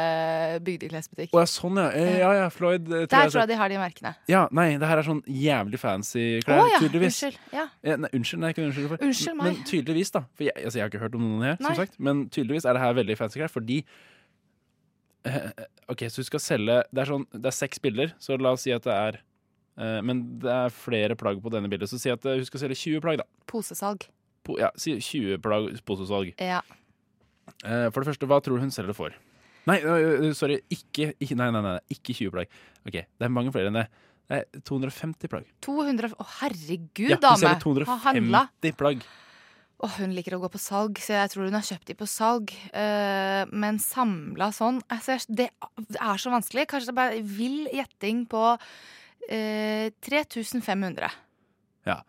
Speaker 17: bygdeklesbutikk.
Speaker 16: Å ja, sånn ja. Eh, ja ja, Floyd. eh,
Speaker 17: Der tror
Speaker 16: så-
Speaker 17: jeg de har de merkene.
Speaker 16: Ja, nei, det her er sånn jævlig fancy
Speaker 17: Å
Speaker 16: klær,
Speaker 17: ja,
Speaker 16: tydeligvis.
Speaker 17: unnskyld. Ja.
Speaker 16: Eh, Nei, unnskyld, nei, ikke unnskyld for.
Speaker 17: Unnskyld meg.
Speaker 16: Men tydeligvis, da. For jeg, altså, jeg har ikke hørt om noen her,
Speaker 17: Nei.
Speaker 16: som sagt. Men tydeligvis er det her veldig fancy klær, fordi eh, OK, så du skal selge Det er, sånn, det er seks bilder, så la oss si at det er eh, Men det er flere plagg på denne bildet, så si at eh, hun skal selge 20 plagg, da.
Speaker 17: Posesalg.
Speaker 16: Po, ja, si 20 plagg posesalg.
Speaker 17: Ja.
Speaker 16: Eh, for det første, hva tror du hun selger det for? Nei, ø, ø, sorry, ikke, ikke Nei, nei, nei, nei, ikke 20 plagg. OK, det er mange flere enn det. Det er 250 plagg.
Speaker 17: 200 Å, herregud,
Speaker 16: ja, hun
Speaker 17: dame!
Speaker 16: selger
Speaker 17: Har handla.
Speaker 16: 250 plagg.
Speaker 17: Åh, hun liker å gå på salg, så jeg tror hun har kjøpt de på salg. Eh, men samla sånn altså, jeg- Det det er så vanskelig. Kanskje det er bare vill gjetting på eh, 3500.
Speaker 16: Ja.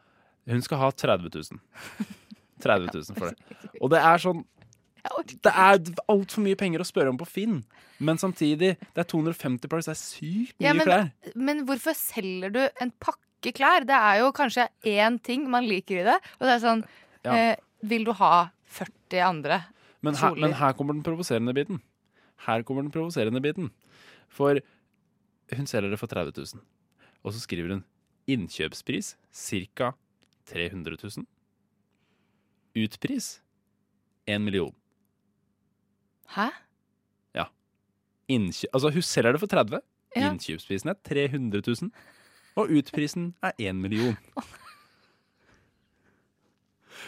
Speaker 16: Hun skal ha 30 000. 30 000 for det. Og det er sånn Det er altfor mye penger å spørre om på Finn, men samtidig Det er 250 plagg, så det er sykt mye
Speaker 17: Ja, men,
Speaker 16: klær.
Speaker 17: men hvorfor selger du en pakke klær? Det er jo kanskje én ting man liker i det. Og det er sånn
Speaker 16: Ja.
Speaker 17: eh, Vil du ha 40 andre
Speaker 16: Men her,
Speaker 17: kjoler?
Speaker 16: men her kommer den provoserende biten. Her kommer den provoserende biten. For hun selger det for 30 000. Og så skriver hun innkjøpspris ca. 300 000. Utpris 1 million.
Speaker 17: Hæ?
Speaker 16: Ja. Innkjø altså, hun selger det for 30.
Speaker 17: Ja.
Speaker 16: Innkjøpsprisen er 300 000. Og utprisen er 1 million.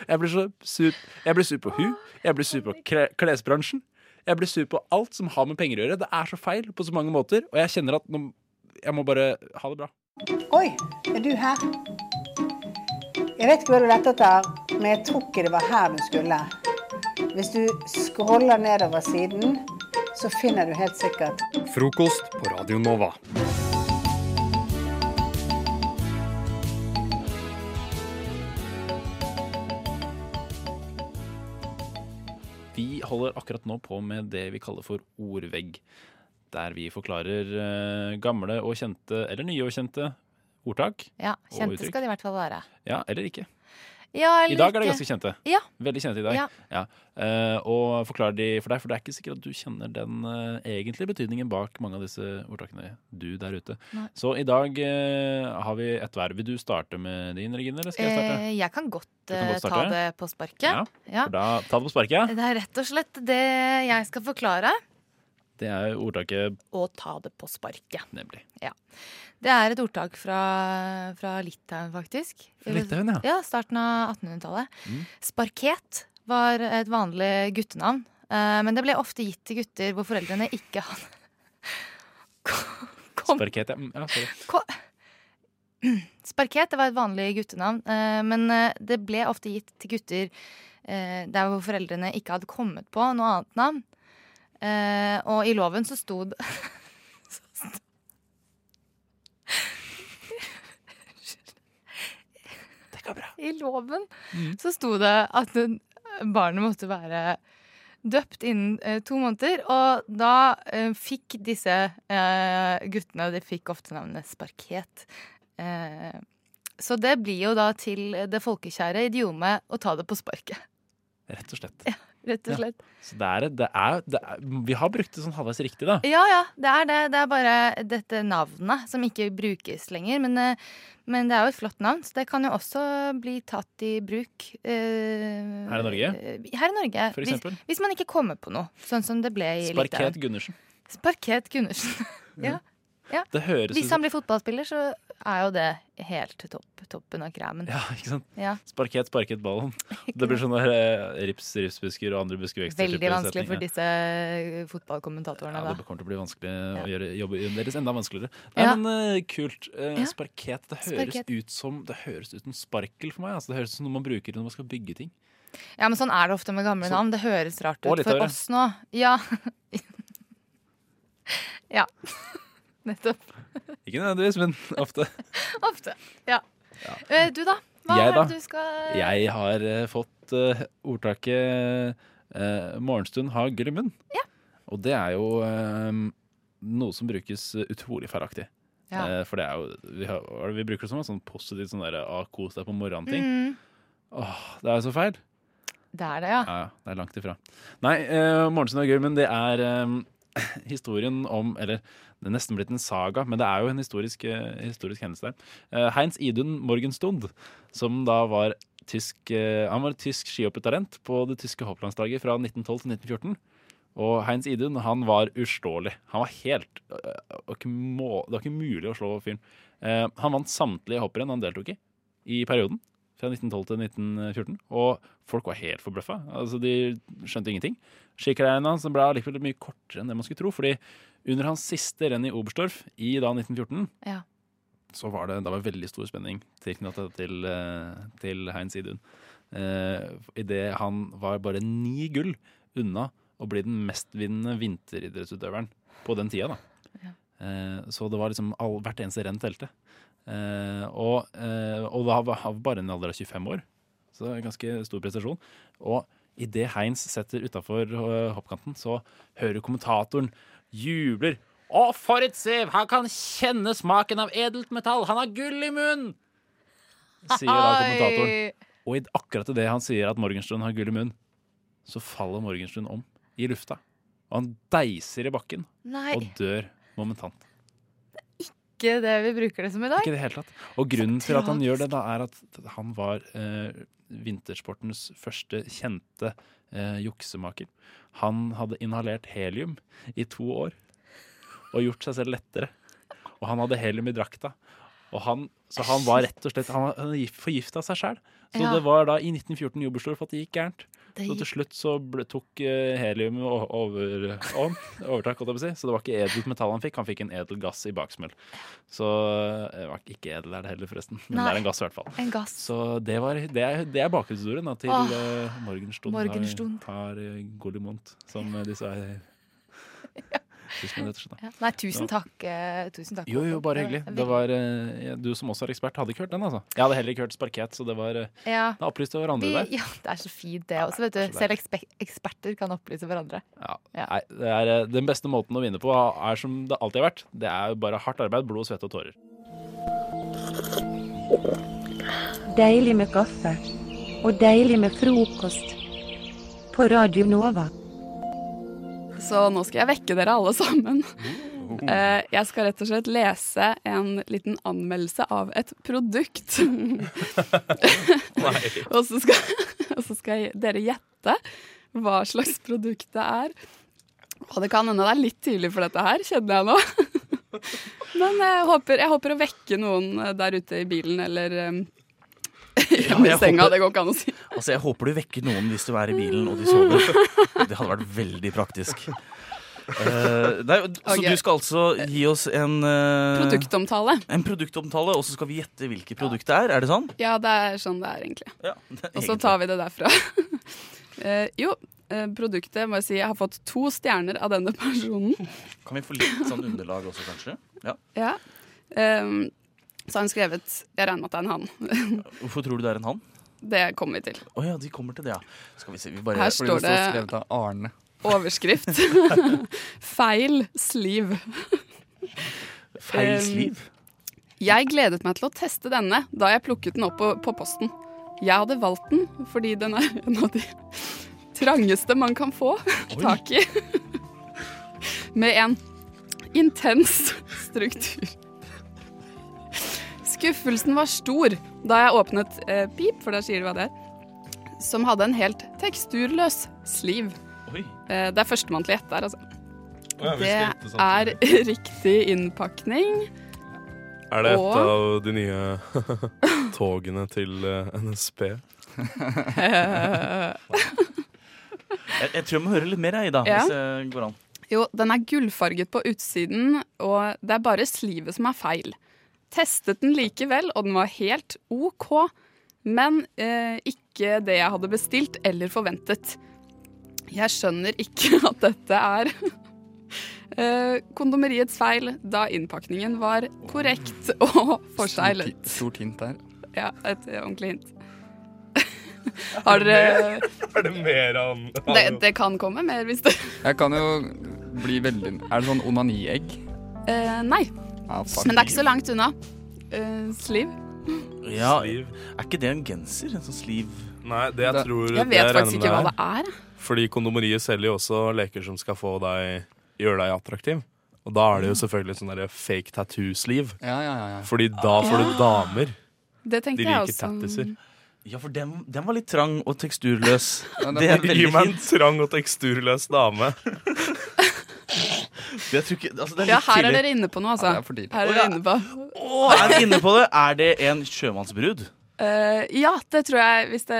Speaker 16: Jeg blir så sur. Jeg blir sur på hun. Jeg blir sur på kle- klesbransjen. Jeg blir sur på alt som har med penger å gjøre. Det er så feil på så mange måter, og jeg kjenner at nå, jeg må bare ha det bra.
Speaker 19: Oi, er du her? Jeg vet ikke hva du lette etter, men jeg tror ikke det var her du skulle. Hvis du scroller nedover siden, så finner du helt sikkert
Speaker 20: Frokost på Radio Nova.
Speaker 16: Vi holder akkurat nå på med det vi kaller for ordvegg. Der vi forklarer eh, gamle og kjente, eller nye og kjente, ordtak.
Speaker 17: Ja,
Speaker 16: og
Speaker 17: kjente
Speaker 16: uttrykk.
Speaker 17: skal de i hvert fall være.
Speaker 16: Ja, eller ikke.
Speaker 17: Ja, eller
Speaker 16: I dag er det
Speaker 17: ikke.
Speaker 16: ganske kjente.
Speaker 17: Ja.
Speaker 16: Veldig kjente i dag.
Speaker 17: Ja.
Speaker 16: Eh, og forklarer de for deg, for det er ikke sikkert at du kjenner den eh, egentlige betydningen bak mange av disse ordtakene, du der ute.
Speaker 17: Nei.
Speaker 16: Så i dag eh, har vi et verv. Vil du starte med din, Regine, eller skal jeg starte?
Speaker 17: Eh, jeg kan godt,
Speaker 16: Du kan
Speaker 17: eh,
Speaker 16: godt
Speaker 17: ta
Speaker 16: starte.
Speaker 17: det på sparket. Ja.
Speaker 16: For da, ta det på sparket.
Speaker 17: Det er rett og slett det jeg skal forklare,
Speaker 16: Det er jo ordtaket
Speaker 17: og ta det på sparket.
Speaker 16: Nemlig.
Speaker 17: Ja. Det er et ordtak fra, fra Litauen, faktisk.
Speaker 16: Fra Litauen, ja.
Speaker 17: Ja, Starten av 1800-tallet.
Speaker 16: Mm.
Speaker 17: Sparket var et vanlig guttenavn, eh, men det ble ofte gitt til gutter hvor foreldrene ikke hadde
Speaker 16: Sparket, ja. Mm, ja sorry.
Speaker 17: Ko- Sparket det var et vanlig guttenavn, eh, men eh, det ble ofte gitt til gutter eh, der hvor foreldrene ikke hadde kommet på noe annet navn. Eh, Og i loven så sto det så sto- I loven så sto det at den- barnet måtte være døpt innen eh, to måneder. Og da eh, fikk disse eh, guttene, de fikk ofte navnet Sparket, eh, Så det blir jo da til det folkekjære idiomet å ta det på sparket.
Speaker 16: Rett og slett.
Speaker 17: Rett og
Speaker 16: Ja.
Speaker 17: slett.
Speaker 16: Så det er, det er, det er, vi har brukt det sånn halvveis riktig, da.
Speaker 17: Ja, ja, det er det. Det er bare dette navnet som ikke brukes lenger. Men, eh, men det er jo et flott navn, så det kan jo også bli tatt i bruk. eh,
Speaker 16: Her i Norge?
Speaker 17: eh, Her i Norge.
Speaker 16: For
Speaker 17: hvis,
Speaker 16: eksempel?
Speaker 17: hvis man ikke kommer på noe, sånn som det ble i
Speaker 16: Sparket
Speaker 17: Litauen.
Speaker 16: Gundersen.
Speaker 17: Sparket Gundersen. ja. ja.
Speaker 16: Det høres ut-
Speaker 17: hvis han blir fotballspiller, så er jo det helt topp, toppen av kremen.
Speaker 16: Ja, ikke sant?
Speaker 17: Ja.
Speaker 16: Sparket, sparket ballen. Det blir sånne eh, rips, ripsbusker og andre buskevekster.
Speaker 17: Veldig
Speaker 16: type
Speaker 17: vanskelig for
Speaker 16: setninger.
Speaker 17: disse eh, fotballkommentatorene,
Speaker 16: Ja,
Speaker 17: da.
Speaker 16: det kommer til å bli vanskelig å gjøre jobben deres enda vanskeligere. Nei,
Speaker 17: Ja.
Speaker 16: men eh, kult. Eh,
Speaker 17: Ja.
Speaker 16: Sparket, det høres
Speaker 17: Sparket.
Speaker 16: ut som Det høres ut som sparkel for meg. Altså, det høres ut som noe man bruker når man skal bygge ting.
Speaker 17: Ja, men sånn er det ofte med gamle
Speaker 16: Så-
Speaker 17: navn. Det høres rart
Speaker 16: Og
Speaker 17: ut for
Speaker 16: litauere.
Speaker 17: oss nå. Ja. ja. Nettopp.
Speaker 16: Ikke nødvendigvis, men ofte.
Speaker 17: Ofte. Ja. Eh, Du, da? Hva
Speaker 16: Jeg,
Speaker 17: er
Speaker 16: da?
Speaker 17: det du skal
Speaker 16: Jeg har eh, fått eh, ordtaket eh, 'morgenstund har gørr i munn'. Og det er jo eh, noe som brukes utrolig feilaktig.
Speaker 17: Ja.
Speaker 16: Eh, for det er jo vi, har, hva er det vi bruker det som en sånn positivt sånn derre ah, 'kos deg på morgenen'-ting.
Speaker 17: Mm,
Speaker 16: Åh, det er jo så feil.
Speaker 17: det er det, ja.
Speaker 16: Ja, ja, det er langt ifra. Nei, uh, Morgenstund og Gørmen, det er eh, historien om Eller det er nesten blitt en saga, men det er jo en historisk, eh, historisk hendelse der. Eh, Heinz Idun Morgenstund, som da var tysk eh, Han var tysk skihoppertalent på det tyske hopplandslaget fra 1912 til 1914. Og Heinz Idun han var uslåelig. Han var helt eh, det var ikke må, Det var ikke mulig å slå fyren. Eh, han vant samtlige hopprenn han deltok i i perioden. Fra 1912 til 1914. Og folk var helt forbløffa. Altså, de skjønte ingenting. Skikarrieren hans ble allikevel mye kortere enn det man skulle tro. fordi under hans siste renn i Oberstdorf i da 1914,
Speaker 17: ja.
Speaker 16: så var det, det var veldig stor spenning tilknyttet til, eh, til Heinz Idun. Uh, Idet han var bare ni gull unna å bli den mestvinnende vinteridrettsutøveren på den tida. da. Eh, Så det var liksom all, hvert eneste renn telte. Eh, og, eh, og da var han bare en alder av 25 år, så det er en ganske stor prestasjon. Og idet Heinz setter utafor eh, hoppkanten, så hører kommentatoren jubler.
Speaker 18: Å, for et sev! Han kan kjenne smaken av edelt metall. Han har gull i munnen!
Speaker 16: Sier da kommentatoren. Og i, akkurat idet han sier at Morgenstund har gull i munnen, så faller Morgenstund om i lufta. Og han deiser i bakken
Speaker 17: Nei.
Speaker 16: og dør momentant.
Speaker 17: Ikke det vi bruker det som i dag.
Speaker 16: Ikke i det hele tatt. Og grunnen til at han gjør det, da, er at han var eh, vintersportens første kjente eh, juksemaker. Han hadde inhalert helium i to år og gjort seg selv lettere. Og han hadde helium i drakta. Og han, så han var rett og slett Han forgifta seg sjæl. Så
Speaker 17: Ja.
Speaker 16: det var da i 1914 i Oberstdorf at det gikk gærent.
Speaker 17: Det
Speaker 16: Så til slutt så ble, tok eh, helium o- over, om, overtak, holdt jeg på å si. Så det var ikke edelt metall han fikk, han fikk en edel gass i baksmell. Så eh, det var ikke edel er det heller, forresten. Men
Speaker 17: Nei.
Speaker 16: det er en gass, i hvert fall.
Speaker 17: En gass.
Speaker 16: Så det, var, det, er, det er bakgrunnshistorien da, til
Speaker 17: Åh,
Speaker 16: eh, Morgenstund har-
Speaker 17: Morgenstund.
Speaker 16: har eh, Golimont, som eh, disse er. Tusen, rett og slett, da.
Speaker 17: Ja. Nei, tusen
Speaker 16: Ja.
Speaker 17: takk. eh, Tusen takk.
Speaker 16: Jo, jo, bare hyggelig. Det var, eh, ja, du som også er ekspert, hadde ikke hørt den, altså. Jeg hadde heller ikke hørt Sparket, så det var eh,
Speaker 17: Ja.
Speaker 16: Da opplyste hverandre
Speaker 17: Vi-
Speaker 16: der.
Speaker 17: Ja, det er så fint, det også. vet
Speaker 16: det er
Speaker 17: du.
Speaker 16: så
Speaker 17: Selv ekspe- eksperter kan opplyse hverandre.
Speaker 16: Ja. Nei, det er, eh, den beste måten å vinne på er som det alltid har vært. Det er jo bare hardt arbeid, blod, svette og tårer.
Speaker 21: Deilig med kaffe. Og deilig med frokost. På Radio Nova.
Speaker 22: Så nå skal jeg vekke dere alle sammen. Eh, Jeg skal rett og slett lese en liten anmeldelse av et produkt. og så skal, og så skal jeg- dere gjette hva slags produkt det er. Og det kan hende det er litt tidlig for dette her, kjenner jeg nå. Men jeg håper, jeg håper å vekke noen eh, der ute i bilen eller eh, hjemme i
Speaker 23: jeg
Speaker 22: senga.
Speaker 23: håper-
Speaker 22: Det går ikke an å si.
Speaker 23: Altså, Jeg håper du vekker noen hvis du er i bilen og de sover. Det hadde vært veldig praktisk. Eh, nei, så
Speaker 22: Ok.
Speaker 23: du skal altså gi oss en eh,
Speaker 22: Produktomtale.
Speaker 23: En produktomtale, og så skal vi gjette hvilket produkt det er? Er det sånn?
Speaker 22: Ja, det er sånn det er, egentlig.
Speaker 23: det er
Speaker 22: Og så tar vi det derfra. Eh, jo, eh, produktet må jeg si jeg har fått to stjerner av denne personen.
Speaker 23: Kan vi få litt sånn underlag også, kanskje? Ja.
Speaker 22: Ja. Ehm, så har han skrevet Jeg regner med at det er en han.
Speaker 23: Hvorfor tror du det er en han?
Speaker 22: det kommer vi til.
Speaker 23: Å ja, de kommer til det, ja. Skal vi se, vi bare
Speaker 22: Her står
Speaker 23: Fordi
Speaker 22: det-
Speaker 23: skrevet av Arne.
Speaker 22: Overskrift. Feil sliv.
Speaker 23: Feil
Speaker 22: Ehm,
Speaker 23: sliv?
Speaker 22: Jeg gledet meg til å teste denne da jeg plukket den opp på, på posten. Jeg hadde valgt den fordi den er en av de trangeste man kan få tak i. Med en intens struktur. Skuffelsen var stor da jeg åpnet eh, Pip, for da sier de hva det er, som hadde en helt teksturløs sleeve.
Speaker 16: Oi.
Speaker 22: Eh, det er førstemann til å gjette her, altså.
Speaker 16: Å ja, vi skal gjette
Speaker 22: Det er
Speaker 16: samtidig.
Speaker 22: riktig innpakning.
Speaker 24: Er det et
Speaker 22: Og-
Speaker 24: av de nye togene til eh, NSB?
Speaker 22: eh,
Speaker 23: Jeg, jeg tror jeg må høre litt mer, jeg, Ida.
Speaker 22: Ja.
Speaker 23: Hvis det går an.
Speaker 22: Jo, den er gullfarget på utsiden, og det er bare slivet som er feil. Testet den likevel, og den var helt OK, men eh, ikke det jeg hadde bestilt eller forventet. Jeg skjønner ikke at dette er eh, kondomeriets feil, da innpakningen var korrekt og forseglet.
Speaker 25: Stort, stort hint der.
Speaker 22: Ja, et ordentlig hint. Har dere
Speaker 24: Er det mer av
Speaker 22: det, det kan komme mer hvis det
Speaker 25: Jeg kan jo bli veldig Er det sånn onaniegg?
Speaker 22: Eh, Nei.
Speaker 23: Ah,
Speaker 25: Ja, fuck.
Speaker 22: Men det er ikke så langt unna. Eh, sliv.
Speaker 23: Ja, er ikke det en genser? En sånn sleeve?
Speaker 24: Nei, det jeg tror
Speaker 22: Jeg vet faktisk ikke hva det er.
Speaker 24: Fordi kondomeriet selger jo også leker som skal få deg gjøre deg attraktiv. Og da er det jo selvfølgelig sånn derre fake tattoo-sleeve.
Speaker 25: Ja, ja, ja, ja.
Speaker 24: Fordi da får du
Speaker 22: Ja.
Speaker 24: damer.
Speaker 22: Det tenkte
Speaker 24: De
Speaker 22: jeg
Speaker 24: liker
Speaker 22: også.
Speaker 24: tattiser.
Speaker 23: Ja, for den, den var litt trang og teksturløs.
Speaker 24: Ja, den
Speaker 23: det er
Speaker 24: var-
Speaker 23: veldig
Speaker 24: Gi meg en
Speaker 23: fint.
Speaker 24: trang og teksturløs dame.
Speaker 23: Jeg tror ikke, altså, det er
Speaker 22: Ja,
Speaker 23: litt
Speaker 22: her er
Speaker 23: tidlig.
Speaker 22: dere inne på noe, altså. Her er
Speaker 23: Å, ja.
Speaker 22: dere inne på.
Speaker 23: Å, er vi inne på det? Er det en sjømannsbrud?
Speaker 22: Eh, ja, det tror jeg, hvis det,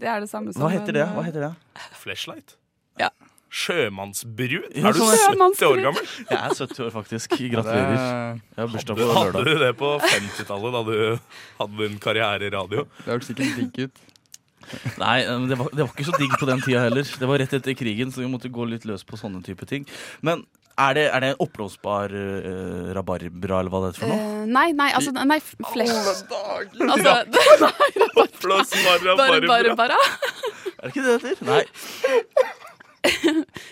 Speaker 22: det er det samme som
Speaker 23: Hva heter det?
Speaker 22: en,
Speaker 23: Hva heter det?
Speaker 24: Flashlight?
Speaker 22: Ja.
Speaker 24: Sjømannsbrud?
Speaker 23: Ja,
Speaker 24: Er du
Speaker 23: sånn er-
Speaker 24: 70 år gammel?
Speaker 23: Jeg er 70 år, faktisk. Gratulerer.
Speaker 25: Det-
Speaker 23: Jeg har bursdag på
Speaker 24: Hadde, hadde du
Speaker 23: lørdag.
Speaker 24: det på 50-tallet, da du hadde en karriere i radio?
Speaker 25: Det hørtes ikke digg ut.
Speaker 23: Nei, eh, men det var, det var ikke så digg på den tida heller. Det var rett etter krigen, så vi måtte gå litt løs på sånne type ting. Men er det, er det en oppblåsbar eh, rabarbra, eller hva det heter for noe?
Speaker 22: eh, nei, nei, altså Nei, f- flesh. Altså,
Speaker 24: Oppblåsbar
Speaker 22: bare, bare, bare.
Speaker 23: Er det ikke det det heter? Nei.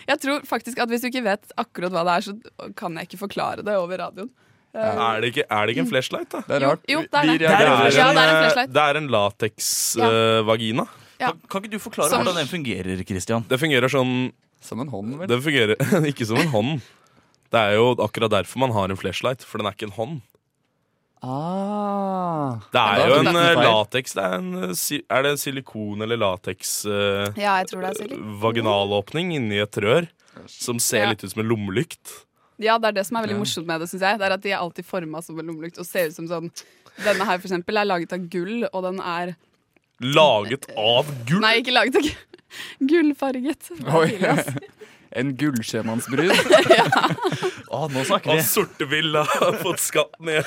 Speaker 22: Jeg tror faktisk at hvis du ikke vet akkurat hva det er, så kan jeg ikke forklare det over radioen. Eh,
Speaker 24: Er det ikke, er det ikke en flashlight, da?
Speaker 25: Det
Speaker 22: er rart. Jo, jo, det er det.
Speaker 24: Det
Speaker 22: Ja, det er en
Speaker 24: er
Speaker 22: flashlight.
Speaker 24: en, det er en lateksvagina.
Speaker 22: Ja.
Speaker 23: Kan, kan ikke du forklare
Speaker 22: Som-
Speaker 23: hvordan den fungerer, Christian?
Speaker 24: Det fungerer sånn
Speaker 25: Som en hånd,
Speaker 24: Det fungerer ikke som en hånd. Det er jo akkurat derfor man har en flashlight, for den er ikke en hånd.
Speaker 25: Ah.
Speaker 24: Det
Speaker 25: Da
Speaker 24: er jo
Speaker 25: tok
Speaker 24: en eh,
Speaker 25: jeg feil.
Speaker 24: lateks Er det en silikon- eller lateks eh,
Speaker 22: Ja, jeg tror det er silikon.
Speaker 24: vaginalåpning inni et rør som ser
Speaker 22: Ja.
Speaker 24: litt ut som en lommelykt?
Speaker 22: Ja, det er det som er veldig
Speaker 24: Ja.
Speaker 22: morsomt med det, synes jeg. Det er at de er alltid forma som en lommelykt og ser ut som sånn Denne her, for eksempel, er laget av gull, og den er
Speaker 24: Laget av gull?
Speaker 22: Nei, ikke laget av gull. Gullfarget. Det er
Speaker 25: Oi.
Speaker 22: tidlig, ass.
Speaker 25: En gullsjømannsbrud.
Speaker 23: nå
Speaker 24: snakker vi. Og Sortevill har fått skatten igjen.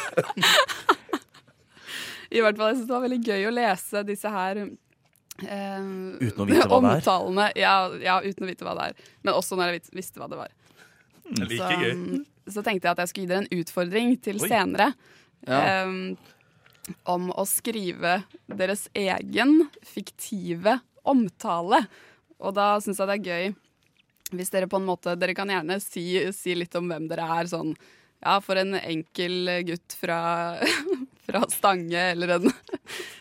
Speaker 22: I hvert fall, jeg synes det var veldig gøy å lese disse her eh,
Speaker 24: Uten å vite hva det er.
Speaker 22: Omtalene. Ja, ja, uten å vite hva det er. Men også når jeg vit- visste hva det var.
Speaker 24: Det er like gøy.
Speaker 22: Så, så tenkte jeg at jeg skulle gi dere en utfordring til
Speaker 24: Oi.
Speaker 22: senere.
Speaker 24: Ja.
Speaker 22: eh, om å skrive deres egen fiktive omtale. Og da syns jeg det er gøy hvis dere på en måte Dere kan gjerne si, si litt om hvem dere er. Sånn ja, for en enkel gutt fra, fra Stange eller en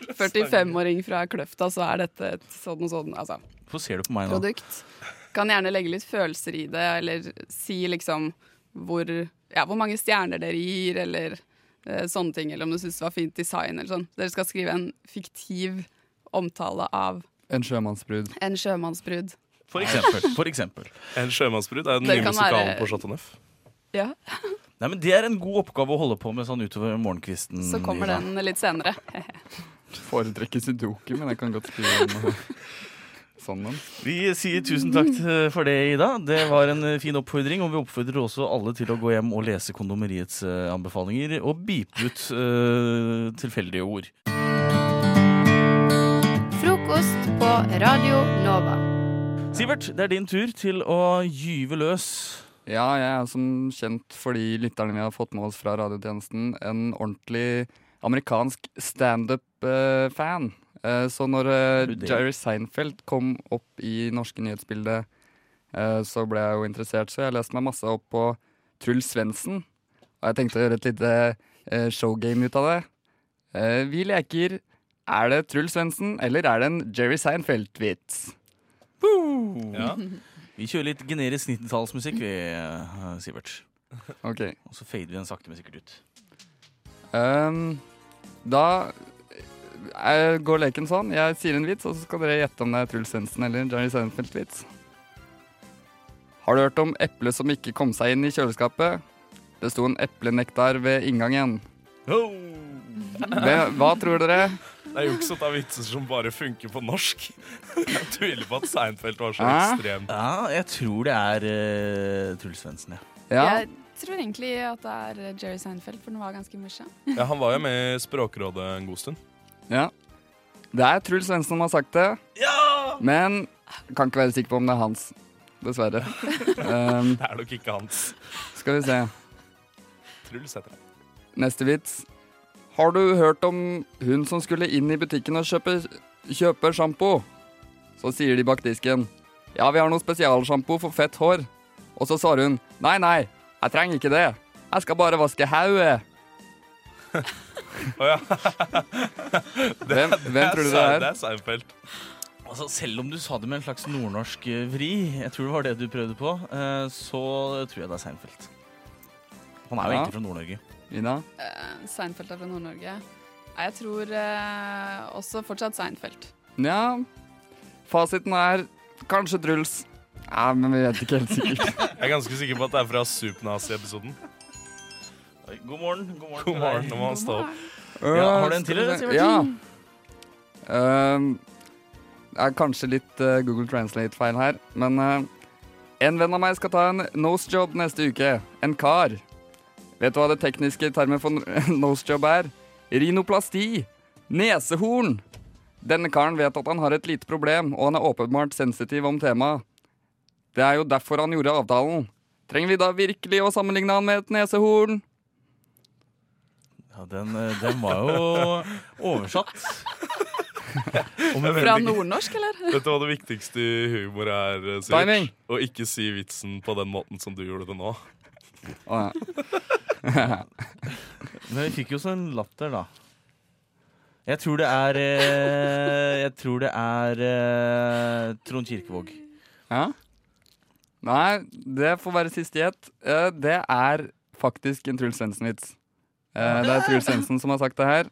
Speaker 22: 45-åring fra Kløfta, så er dette et sånn og sånn altså,
Speaker 23: Hvorfor ser du på meg nå?
Speaker 22: produkt. Kan gjerne legge litt følelser i det, eller si liksom hvor, ja, hvor mange stjerner dere gir, eller eh, sånne ting. Eller om du syns det var fint design eller sånn. Dere skal skrive en fiktiv omtale av
Speaker 25: En sjømannsbrud.
Speaker 22: en sjømannsbrud.
Speaker 23: For eksempel. For eksempel.
Speaker 24: En sjømannsbrud er den
Speaker 22: Det
Speaker 24: nye
Speaker 22: kan
Speaker 24: musikalen
Speaker 22: være-
Speaker 24: på Chateau Neuf.
Speaker 22: Ja,
Speaker 23: Nei, men Det er en god oppgave å holde på med sånn utover
Speaker 25: Mm,
Speaker 23: morgenkvisten.
Speaker 22: Så kommer
Speaker 23: Ida.
Speaker 22: den litt senere.
Speaker 25: Foretrekker sudoku, men jeg kan godt skrive om sånn en.
Speaker 23: Vi sier tusen takk eh, for det, Ida. Det var en eh, fin oppfordring. Og vi oppfordrer også alle til å gå hjem og lese Kondomeriets eh, anbefalinger og bipe ut eh, tilfeldige ord.
Speaker 17: Frokost på Radio Nova.
Speaker 23: Sivert, det er din tur til å gyve løs.
Speaker 25: Ja, jeg er som kjent for de lytterne vi har fått med oss fra radiotjenesten, en ordentlig amerikansk standup-fan. så når uh,
Speaker 23: det?
Speaker 25: Jerry Seinfeld kom opp i norske nyhetsbildet, eh, så ble jeg jo interessert, så jeg leste meg masse opp på Truls Svendsen. Og jeg tenkte å gjøre et lite eh, showgame ut av det. Eh, vi leker Er det Truls Svendsen, eller er det en Jerry Seinfeld-vits?
Speaker 23: Ja. Vi kjører litt generisk 90-tallsmusikk, vi, eh, Sivert.
Speaker 25: Ok.
Speaker 23: Og så fader vi den sakte, men sikkert ut.
Speaker 25: Ehm, da eh, går leken sånn. Jeg sier en vits, og så skal dere gjette om det er Truls Svendsen eller en Jerry Seinfeld-vits. Har du hørt om eplet som ikke kom seg inn i kjøleskapet? Det sto en eplenektar ved inngangen. Hva, hva tror dere?
Speaker 24: Det er juks at det er vitser som bare funker på norsk. Jeg tviler på at Seinfeld var så
Speaker 23: Hæ?
Speaker 24: ekstrem.
Speaker 23: Ja, jeg tror det er eh, Truls Svendsen, ja.
Speaker 22: Jeg tror egentlig at det er Jerry Seinfeld, for den var ganske morsom.
Speaker 24: Ja, han var jo med i Språkrådet en god stund.
Speaker 25: Ja. Det er Truls Svendsen som har sagt det. Men kan ikke være sikker på om det er hans. Dessverre. Ehm,
Speaker 24: Det er nok ikke hans.
Speaker 25: skal vi se.
Speaker 24: Truls heter det.
Speaker 25: Neste vits. Har du hørt om hun som skulle inn i butikken og kjøpe, kjøpe sjampo? Så sier de bak disken. Ja, vi har noe spesialsjampo for fett hår. Og så svarer hun. Nei, nei, jeg trenger ikke det. Jeg skal bare vaske hodet.
Speaker 24: Å ja.
Speaker 25: Hvem, hvem tror du det er?
Speaker 24: Seinfeld.
Speaker 23: Altså, selv om du sa det med en slags nordnorsk eh, vri, jeg tror det var det du prøvde på, eh, så tror jeg det er Seinfeld. Han er jo
Speaker 25: Ja.
Speaker 23: egentlig fra Nord-Norge.
Speaker 25: Ina?
Speaker 22: Eh, Seinfeld er fra Nord-Norge. Nei, Jeg tror eh, også fortsatt Seinfeld.
Speaker 25: Nja, fasiten er kanskje Truls. Ja, men vi vet ikke helt sikkert.
Speaker 24: Jeg er ganske sikker på at det er fra Supernasi-episoden.
Speaker 23: God morgen. God morgen,
Speaker 24: God morgen, nå må han stå opp.
Speaker 23: Ja, har du en til, eller, Sivert?
Speaker 25: Ja. Ehm, det er kanskje litt eh, Google Translate-feil her, men eh, en venn av meg skal ta en nosejob neste uke. En kar. Vet du hva det tekniske termet for n- nosejob er? Rhinoplasti. Nesehorn. Denne karen vet at han har et lite problem, og han er åpenbart sensitiv om temaet. Det er jo derfor han gjorde avtalen. Trenger vi da virkelig å sammenligne han med et nesehorn?
Speaker 23: Ja, den, eh, den var jo oversatt.
Speaker 24: Og med
Speaker 22: Fra
Speaker 24: veldig-
Speaker 22: nordnorsk, eller?
Speaker 24: Vet du hva det viktigste i humor er, eh, Sivert?
Speaker 25: Timing.
Speaker 24: Å ikke si vitsen på den måten som du gjorde det nå.
Speaker 25: Å, ja.
Speaker 23: Men vi fikk jo sånn latter, da. Jeg tror det er eh, Jeg tror det er eh, Trond Kirkevåg.
Speaker 25: Ja? Nei, det får være siste gjett. Eh, Det er faktisk en Truls Svendsen-vits. Eh, Det er Truls Svendsen som har sagt det her,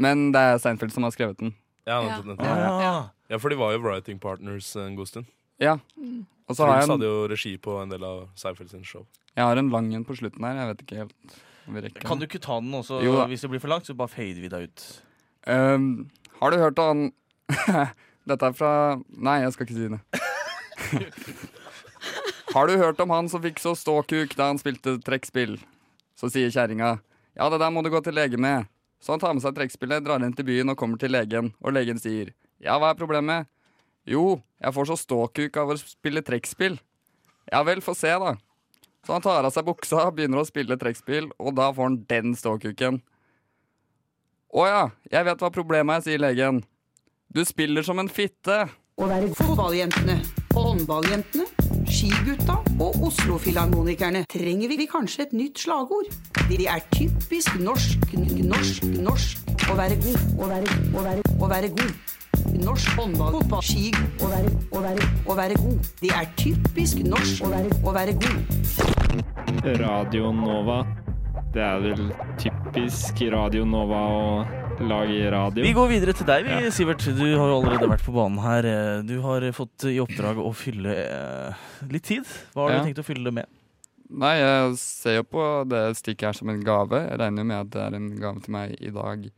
Speaker 25: men det er Seinfeld som har skrevet den.
Speaker 24: Ja, nettopp, nettopp.
Speaker 25: Ja. Ah.
Speaker 24: Ja. ja, for de var jo writing partners en god stund.
Speaker 25: Ja.
Speaker 24: Mm.
Speaker 25: Og så har jeg
Speaker 24: Truls
Speaker 25: en-
Speaker 24: hadde jo regi på en del av Seinfeld sin show.
Speaker 25: Jeg har en lang en på slutten her. Jeg vet ikke helt om vi rekker
Speaker 23: Kan du ikke ta den også?
Speaker 25: Jo da.
Speaker 23: Hvis det blir for langt, så bare fader vi deg ut.
Speaker 25: Ehm, har du hørt om Dette er fra Nei, jeg skal ikke si det. har du hørt om han som fikk så stå kuk da han spilte trekkspill? Så sier kjerringa ja, det der må du gå til lege med. Så han tar med seg trekkspillet, drar inn til byen og kommer til legen, og legen sier ja, hva er problemet? Jo, jeg får så ståkuk av å spille trekkspill. Ja vel, få se, da. Så han tar av seg buksa, begynner å spille trekkspill, og da får han den ståkuken. Å ja, jeg vet hva problemet er, sier legen. Du spiller som en fitte.
Speaker 3: Å være fotballjentene, håndballjentene, skigutta og Oslo-filharmonikerne trenger vi kanskje et nytt slagord. De er typisk norsk, n- norsk, norsk. Å være god, å være, å være, å være god. Norsk håndball, fotball, ski. Å være, å være, å være god. De er typisk norsk, å være, å være god.
Speaker 7: Radio Nova. Det er vel typisk Radio Nova å lage radio.
Speaker 23: Vi går videre til deg, vi, Sivert. Du har jo allerede vært på banen her. Eh, Du har eh, fått i oppdrag å fylle eh, litt tid. Hva har
Speaker 25: Ja.
Speaker 23: du tenkt å fylle det med?
Speaker 25: Nei, jeg ser jo på det stikket her som en gave. Jeg regner jo med at det er en gave til meg i dag,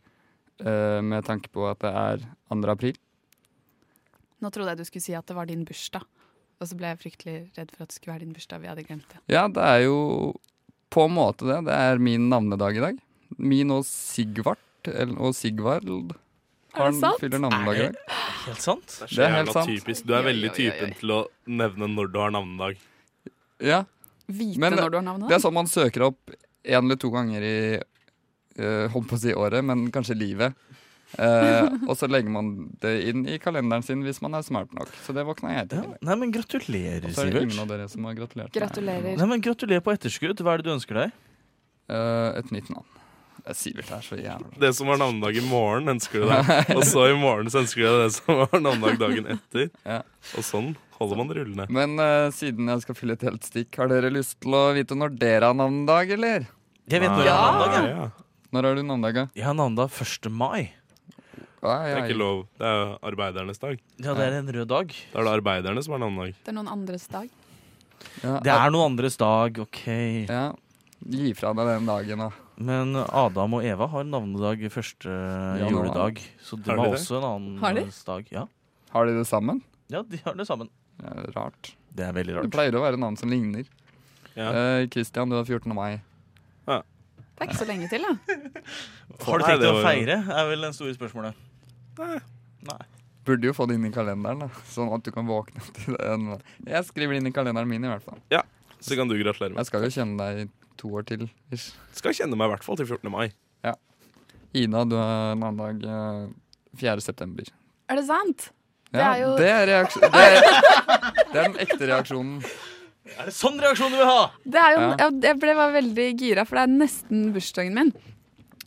Speaker 25: eh, med tanke på at det er 2. april.
Speaker 22: Nå trodde jeg du skulle si at det var din bursdag, og så ble jeg fryktelig redd for at det skulle være din bursdag. Vi hadde glemt det.
Speaker 25: Ja, det er jo på en måte det. Det er min navnedag i dag. Min og Sigvard eller- og Sigvard har- fyller navnedag i dag.
Speaker 23: Helt sant?
Speaker 25: Det er helt sant.
Speaker 24: Typisk. Du er veldig typen til å nevne når du har navnedag.
Speaker 25: Ja.
Speaker 22: Vite
Speaker 25: Men
Speaker 22: når du har navnet.
Speaker 25: Det er sånn man søker opp én eller to ganger i eh, Holdt på å si året, men kanskje livet. Eh, og så legger man det inn i kalenderen sin hvis man er smart nok. Så det våkna jeg til.
Speaker 23: Nei, men gratulerer,
Speaker 25: Og så er det
Speaker 23: Sivert.
Speaker 25: ingen av dere som har gratulert.
Speaker 22: Gratulerer.
Speaker 23: Nei, men gratulerer på etterskudd. Hva er det du ønsker deg?
Speaker 25: Eh, et nytt navn. Jeg sier vel det er så jævla
Speaker 24: Det som var navnedag i morgen, ønsker du deg. Og så i morgen så ønsker du deg det som var navnedag dagen etter. Og sånn holder man det rullende.
Speaker 25: Men eh, siden jeg skal fylle et helt stikk, har dere lyst til å vite når dere har navnedag, eller?
Speaker 23: Jeg vet når jeg har Ja. navnedag, jeg.
Speaker 25: Når har du navnedag, da?
Speaker 23: Jeg har navnedag 1. mai.
Speaker 24: Det er ikke lov. Det er jo arbeidernes dag.
Speaker 23: Ja, det er en rød dag.
Speaker 24: Da er det arbeiderne som har navnedag.
Speaker 22: Det er noen andres dag.
Speaker 23: Det er noen andres dag, OK.
Speaker 25: Ja. Gi fra deg den dagen, da.
Speaker 23: Men Adam og Eva har navnedag første juledag, så de
Speaker 25: Har
Speaker 23: har,
Speaker 25: de det?
Speaker 23: også en annen
Speaker 25: Har de?
Speaker 23: dag. Ja.
Speaker 25: Har de det sammen?
Speaker 23: ja, de har det sammen.
Speaker 25: Rart.
Speaker 23: Det er veldig
Speaker 25: Det
Speaker 23: rart.
Speaker 25: pleier å være navn som ligner. Eh, Christian, du har 14. mai.
Speaker 22: Det er ikke så lenge til, da.
Speaker 23: Har du
Speaker 25: Nei,
Speaker 23: tenkt
Speaker 25: det var jo-
Speaker 23: å feire, er vel det store spørsmålet.
Speaker 25: Burde jo få det inn i kalenderen, da. sånn at du kan våkne til den. Jeg skriver det inn i kalenderen min, i hvert fall.
Speaker 24: Ja, Så kan du gratulere med.
Speaker 25: Jeg skal jo kjenne deg i to år til. Ish.
Speaker 24: Skal kjenne meg i hvert fall til 14. mai.
Speaker 25: Ja. Ida, du har navnedag eh, 4. september.
Speaker 22: Er det sant?
Speaker 25: Ja, det er
Speaker 22: jo
Speaker 25: det er, reaks- det er, det er den ekte reaksjonen.
Speaker 23: Er det sånn reaksjon du vil ha?
Speaker 22: Det er jo,
Speaker 25: Ja.
Speaker 22: jeg- Jeg ble var veldig gira, for det er nesten bursdagen min.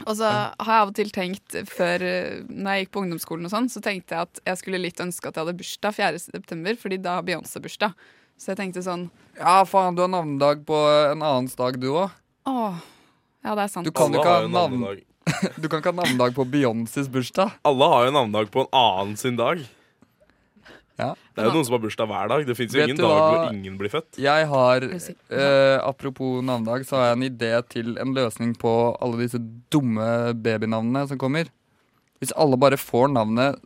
Speaker 22: Og så har jeg av og til tenkt, før eh, når jeg gikk på ungdomsskolen og sånn, så tenkte jeg at jeg skulle litt ønske at jeg hadde bursdag 4. september, fordi da har Beyoncé bursdag. Så jeg tenkte sånn
Speaker 25: Ja, faen, du har navnedag på en annens dag, du òg.
Speaker 22: åh, ja, det er sant.
Speaker 25: Du kan jo ikke ha navn...
Speaker 24: navnedag.
Speaker 25: Du kan ikke ha navnedag på Beyoncés bursdag.
Speaker 24: Alle har jo navnedag på en annen sin dag.
Speaker 25: Ja.
Speaker 24: Det er jo noen som har bursdag hver dag. Det fins jo
Speaker 25: Vet
Speaker 24: ingen
Speaker 25: du
Speaker 24: dag
Speaker 25: hva?
Speaker 24: hvor ingen blir født.
Speaker 25: Jeg har,
Speaker 24: Er du sikker?
Speaker 25: eh, apropos navnedag, så har jeg en idé til en løsning på alle disse dumme babynavnene som kommer. Hvis alle bare får navnet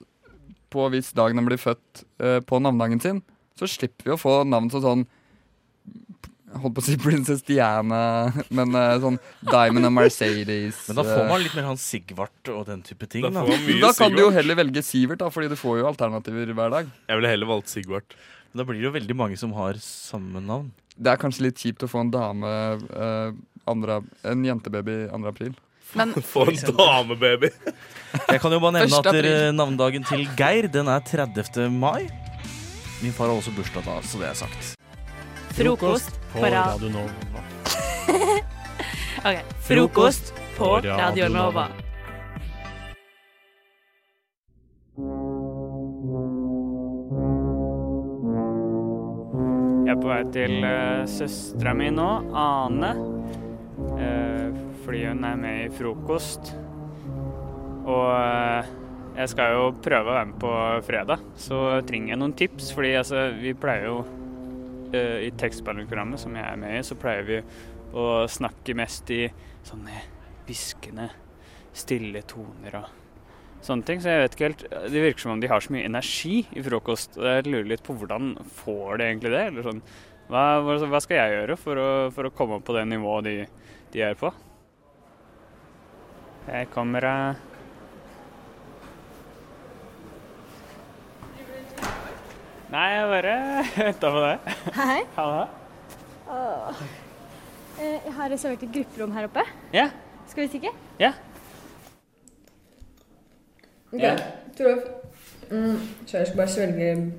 Speaker 25: på hvis dagen den blir født eh, på navnedagen sin, så slipper vi å få navn som sånn Holdt på å si Princess Diana, men eh, sånn Diamond and Mercedes.
Speaker 23: Men da får
Speaker 25: eh.
Speaker 23: man litt mer han Sigvart og den type ting.
Speaker 24: Da får man mye
Speaker 25: Da kan du jo
Speaker 24: Sigvart.
Speaker 25: heller velge Sivert, da, fordi du får jo alternativer hver dag.
Speaker 24: Jeg ville heller valgt Sigvart.
Speaker 23: Da blir det jo veldig mange som har samme navn.
Speaker 25: Det er kanskje litt kjipt å få en dame eh, andre, En jentebaby 2. april.
Speaker 22: Men-
Speaker 24: Få en damebaby!
Speaker 23: Jeg kan jo bare nevne
Speaker 25: Første
Speaker 23: at dere-
Speaker 25: april.
Speaker 23: navnedagen til Geir den er 30. mai. Min far har også bursdag da, så det er sagt.
Speaker 9: Frokost på Radio
Speaker 23: Nova.
Speaker 9: Ok, Frokost på Radio Nova.
Speaker 2: Jeg er på vei til uh, søstera mi nå, Ane. eh, fordi hun er med i frokost. Og eh, jeg skal jo prøve å være med på fredag, så trenger jeg noen tips. Fordi altså, vi pleier jo eh, I tekstbehandlingsprogrammet som jeg er med i, så pleier vi å snakke mest i sånne hviskende, stille toner og sånne ting. Så jeg vet ikke helt Det virker som om de har så mye energi i frokost. Og jeg lurer litt på hvordan får de egentlig det? Eller sånn Hva, hva- hva skal jeg gjøre for å, for å komme opp på det nivået de, de er på? Her kommer eh, jeg. Nei, jeg bare venta på det.
Speaker 4: Hei.
Speaker 2: Ha det.
Speaker 4: Åh. Eh, Jeg har reservert et grupperom her oppe.
Speaker 2: Ja.
Speaker 4: Skal vi stikke?
Speaker 2: Ja.
Speaker 4: Ok,
Speaker 2: Ja.
Speaker 4: Tror jeg mm, Tror jeg skal bare svelge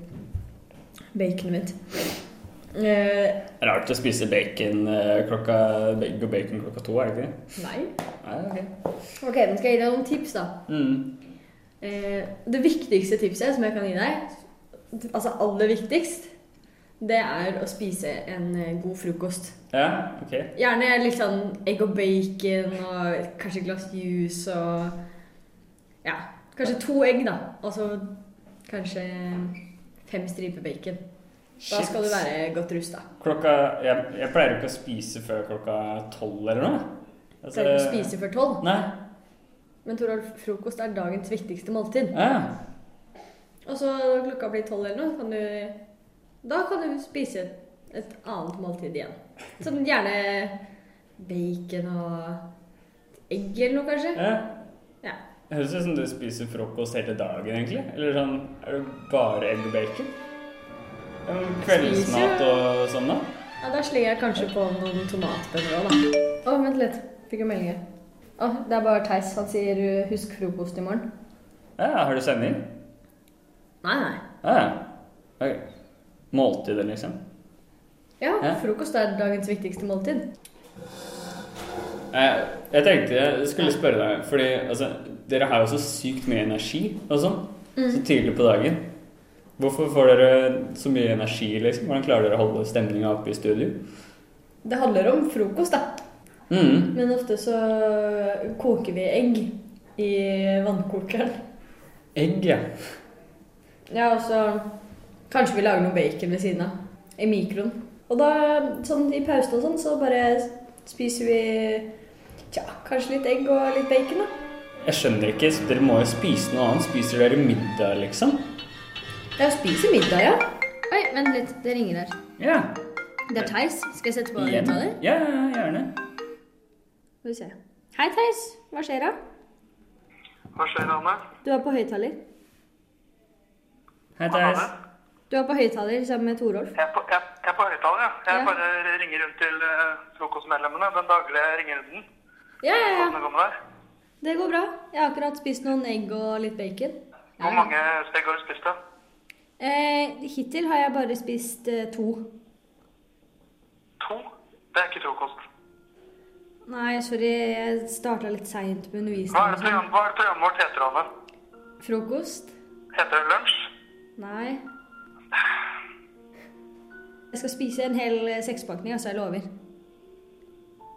Speaker 4: baconet mitt. Eh,
Speaker 2: Rart å spise bacon eh, klokka, egg og bacon klokka to, er det ikke det?
Speaker 4: nei.
Speaker 2: Nei, ok.
Speaker 4: Ok, nå skal jeg gi deg noen tips, da.
Speaker 2: Mm.
Speaker 4: Eh, det viktigste tipset som jeg kan gi deg, altså aller viktigst, det er å spise en eh, god frokost.
Speaker 2: Ja, ok.
Speaker 4: Gjerne litt sånn egg og bacon og kanskje et glass juice og Ja, kanskje to egg, da. Og så kanskje fem striper bacon. Da
Speaker 2: Shit.
Speaker 4: skal du være godt rusta.
Speaker 2: Klokka, jeg, jeg pleier jo ikke å spise før klokka tolv eller noe. Altså,
Speaker 4: Pleier ikke å spise før tolv.
Speaker 2: Nei.
Speaker 4: Men Toralf, frokost er dagens viktigste måltid.
Speaker 2: Ja.
Speaker 4: Og så når klokka blir tolv eller noe, kan du Da kan du spise et, et annet måltid igjen. Sånn gjerne bacon og egg eller noe, kanskje.
Speaker 2: Ja.
Speaker 4: ja.
Speaker 2: Det høres ut som du spiser frokost hele dagen, egentlig. Eller sånn, er det bare egg og bacon? Ja, men Kveldsmat og sånn, da?
Speaker 4: Ja, Da slenger jeg kanskje på noen tomatbønner òg, da. Å, vent litt. Fikk en melding her. Å, det er bare Theis. Han sier uh, 'husk frokost i morgen'.
Speaker 2: Ja, har du sending?
Speaker 4: Nei, nei.
Speaker 2: Ja, ja. Ok. Måltider, liksom?
Speaker 4: Ja,
Speaker 2: Hæ?
Speaker 4: frokost er dagens viktigste måltid.
Speaker 2: Eh, Jeg tenkte jeg skulle spørre deg, fordi altså, dere har jo så sykt mye energi og sånn, så
Speaker 4: Mm.
Speaker 2: tidlig på dagen. Hvorfor får dere så mye energi, liksom? Hvordan klarer dere å holde stemninga oppe i studio?
Speaker 4: Det handler om frokost, da.
Speaker 2: Mm.
Speaker 4: Men ofte så koker vi egg i vannkokeren.
Speaker 2: Egg, ja.
Speaker 4: Ja, og så kanskje vi lager noe bacon ved siden av i mikroen. Og da, sånn i pausen og sånn, så bare spiser vi tja, kanskje litt egg og litt bacon, da.
Speaker 2: Jeg skjønner ikke, så dere må jo spise noe annet. Spiser dere middag, liksom?
Speaker 4: Jeg spiser middag, ja.
Speaker 26: Oi, vent litt. Det ringer her.
Speaker 2: Ja.
Speaker 26: Det er Theis. Skal jeg sette på
Speaker 2: Igjen?
Speaker 26: høyttaler?
Speaker 2: Ja, ja, gjerne.
Speaker 4: Skal vi se. Hei, Theis. Hva skjer da?
Speaker 15: Hva skjer, Anne?
Speaker 4: Du er på høyttaler.
Speaker 2: Hei, Theis.
Speaker 4: Du er på høyttaler sammen med Torolf.
Speaker 15: Jeg er på høyttaler, ja. Jeg
Speaker 4: Ja.
Speaker 15: bare ringer rundt til eh, frokostmedlemmene. Den daglige ringerunden.
Speaker 4: Ja, ja, ja.
Speaker 15: Hvordan det går med deg?
Speaker 4: Det går bra. Jeg har akkurat spist noen egg og litt bacon.
Speaker 15: Hvor mange steg har du spist, da?
Speaker 4: Eh, hittil har jeg bare spist eh, to.
Speaker 15: To? Det er ikke frokost.
Speaker 4: Nei, sorry. Jeg starta litt seint med
Speaker 15: Hva er, det
Speaker 4: undervisning.
Speaker 15: program, hva er det programmet vårt heter, Anne?
Speaker 4: Frokost?
Speaker 15: Heter det lunsj?
Speaker 4: Nei. Jeg skal spise en hel eh, sekspakning, altså. Jeg lover.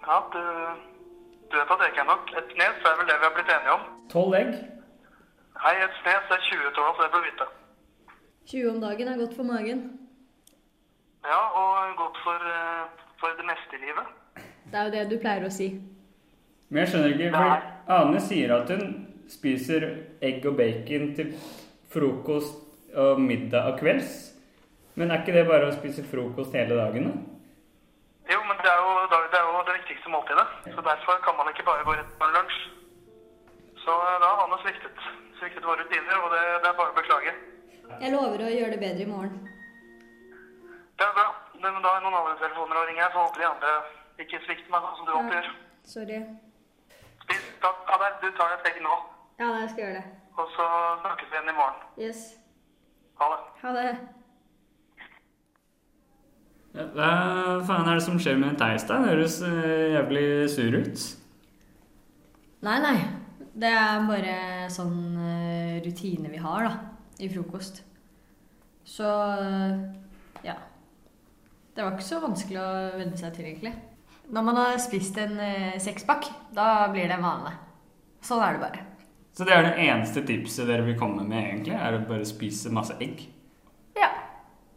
Speaker 15: Ja, du, du vet at det ikke er nok. Et snes er vel det vi har blitt enige om?
Speaker 2: Tolv egg.
Speaker 15: Nei, et snes er 20 tolv, så det bør du vite.
Speaker 4: 20 om dagen er godt for magen.
Speaker 15: Ja, og godt for, eh, for det meste i livet.
Speaker 4: Det er jo det du pleier å si.
Speaker 2: Men jeg skjønner ikke, for Ane sier at hun spiser egg og bacon til frokost og middag og kvelds. Men er ikke det bare å spise frokost hele dagen, da?
Speaker 15: Jo, men det er jo, da- det er jo det viktigste måltidet. Så derfor kan man ikke bare gå rett på en lunsj. Så eh, da har Anne sviktet. Sviktet våre rutiner, og det, det er bare å beklage.
Speaker 4: Jeg lover å gjøre det bedre i morgen.
Speaker 15: Det er bra. Men da har jeg noen andre telefoner å ringe, her, så håper de andre ikke svikter meg, sånn som du
Speaker 4: Ja.
Speaker 15: alltid gjør.
Speaker 4: Sorry.
Speaker 15: Spis, ta, ta deg, du tar deg et egg nå,
Speaker 4: Ja, nei, jeg skal gjøre det.
Speaker 15: og så snakkes vi igjen i morgen.
Speaker 4: Yes.
Speaker 15: Ha det.
Speaker 4: Ha det.
Speaker 2: Hva faen er det som skjer med Theis, da? Høres eh, jævlig sur ut.
Speaker 4: Nei, nei. Det er bare sånn eh, rutine vi har, da. I frokost. Så eh, ja. Det var ikke så vanskelig å venne seg til, egentlig. Når man har spist en eh, sekspakk, da blir det en vane. Sånn er det bare.
Speaker 2: Så det er det eneste tipset dere vil komme med, egentlig? Er å bare spise masse egg?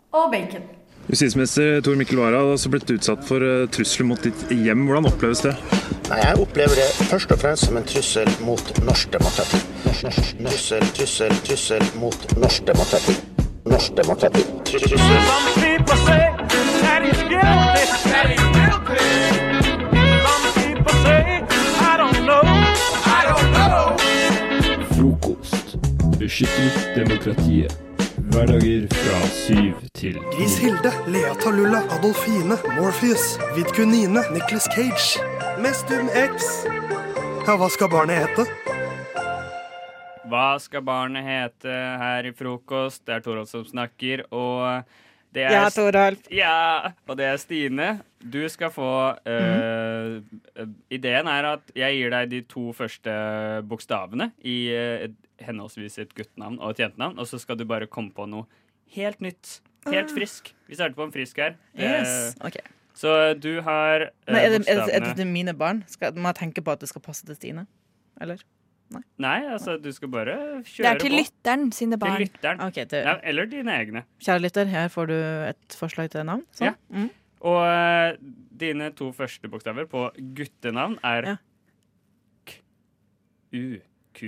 Speaker 4: Og bacon.
Speaker 16: Justisminister Tor Mikkel Wara har også blitt utsatt for eh, trusler mot ditt hjem. Hvordan oppleves det?
Speaker 27: Nei, Jeg opplever det først og fremst som en trussel mot norsk demokrati. Norsk, norsk, norsk. Trussel, trussel, trussel mot norsk demokrati. Norsk demokrati. Trussel.
Speaker 7: Frokost. Beskytter demokratiet. Hverdager fra syv til
Speaker 28: Grishilde, Lea Talulla, Adolfine, Morpheus, Vidkunine, Nicolas Cage. Mestum X. Ja, hva skal barnet hete?
Speaker 2: Hva skal barnet hete her i frokost? Det er Torolf som snakker, og det er
Speaker 10: Ja, Torolf.
Speaker 2: Ja, og det er Stine. Du skal få eh, eh, Ideen er at jeg gir deg de to første bokstavene i eh, et, henholdsvis et guttenavn og et jentenavn, og så skal du bare komme på noe helt nytt. Helt
Speaker 10: Ah.
Speaker 2: frisk. Vi starter på en frisk her.
Speaker 10: Yes,
Speaker 2: Eh,
Speaker 10: ok.
Speaker 2: Så du har eh,
Speaker 10: Nei, Ah. er, det, er, det, er
Speaker 2: bokstavene
Speaker 10: det til mine barn? Skal, må jeg tenke på at det skal passe til Stine? Eller? Nei.
Speaker 2: Nei, altså, du skal bare kjøre på.
Speaker 10: Det er til lytteren sine barn.
Speaker 2: Til lytteren. ja, eller dine egne.
Speaker 10: Kjære lytter, her får du et forslag til navn. Sånn.
Speaker 2: Ja. Og eh, dine to første bokstaver på guttenavn er K-U-Q.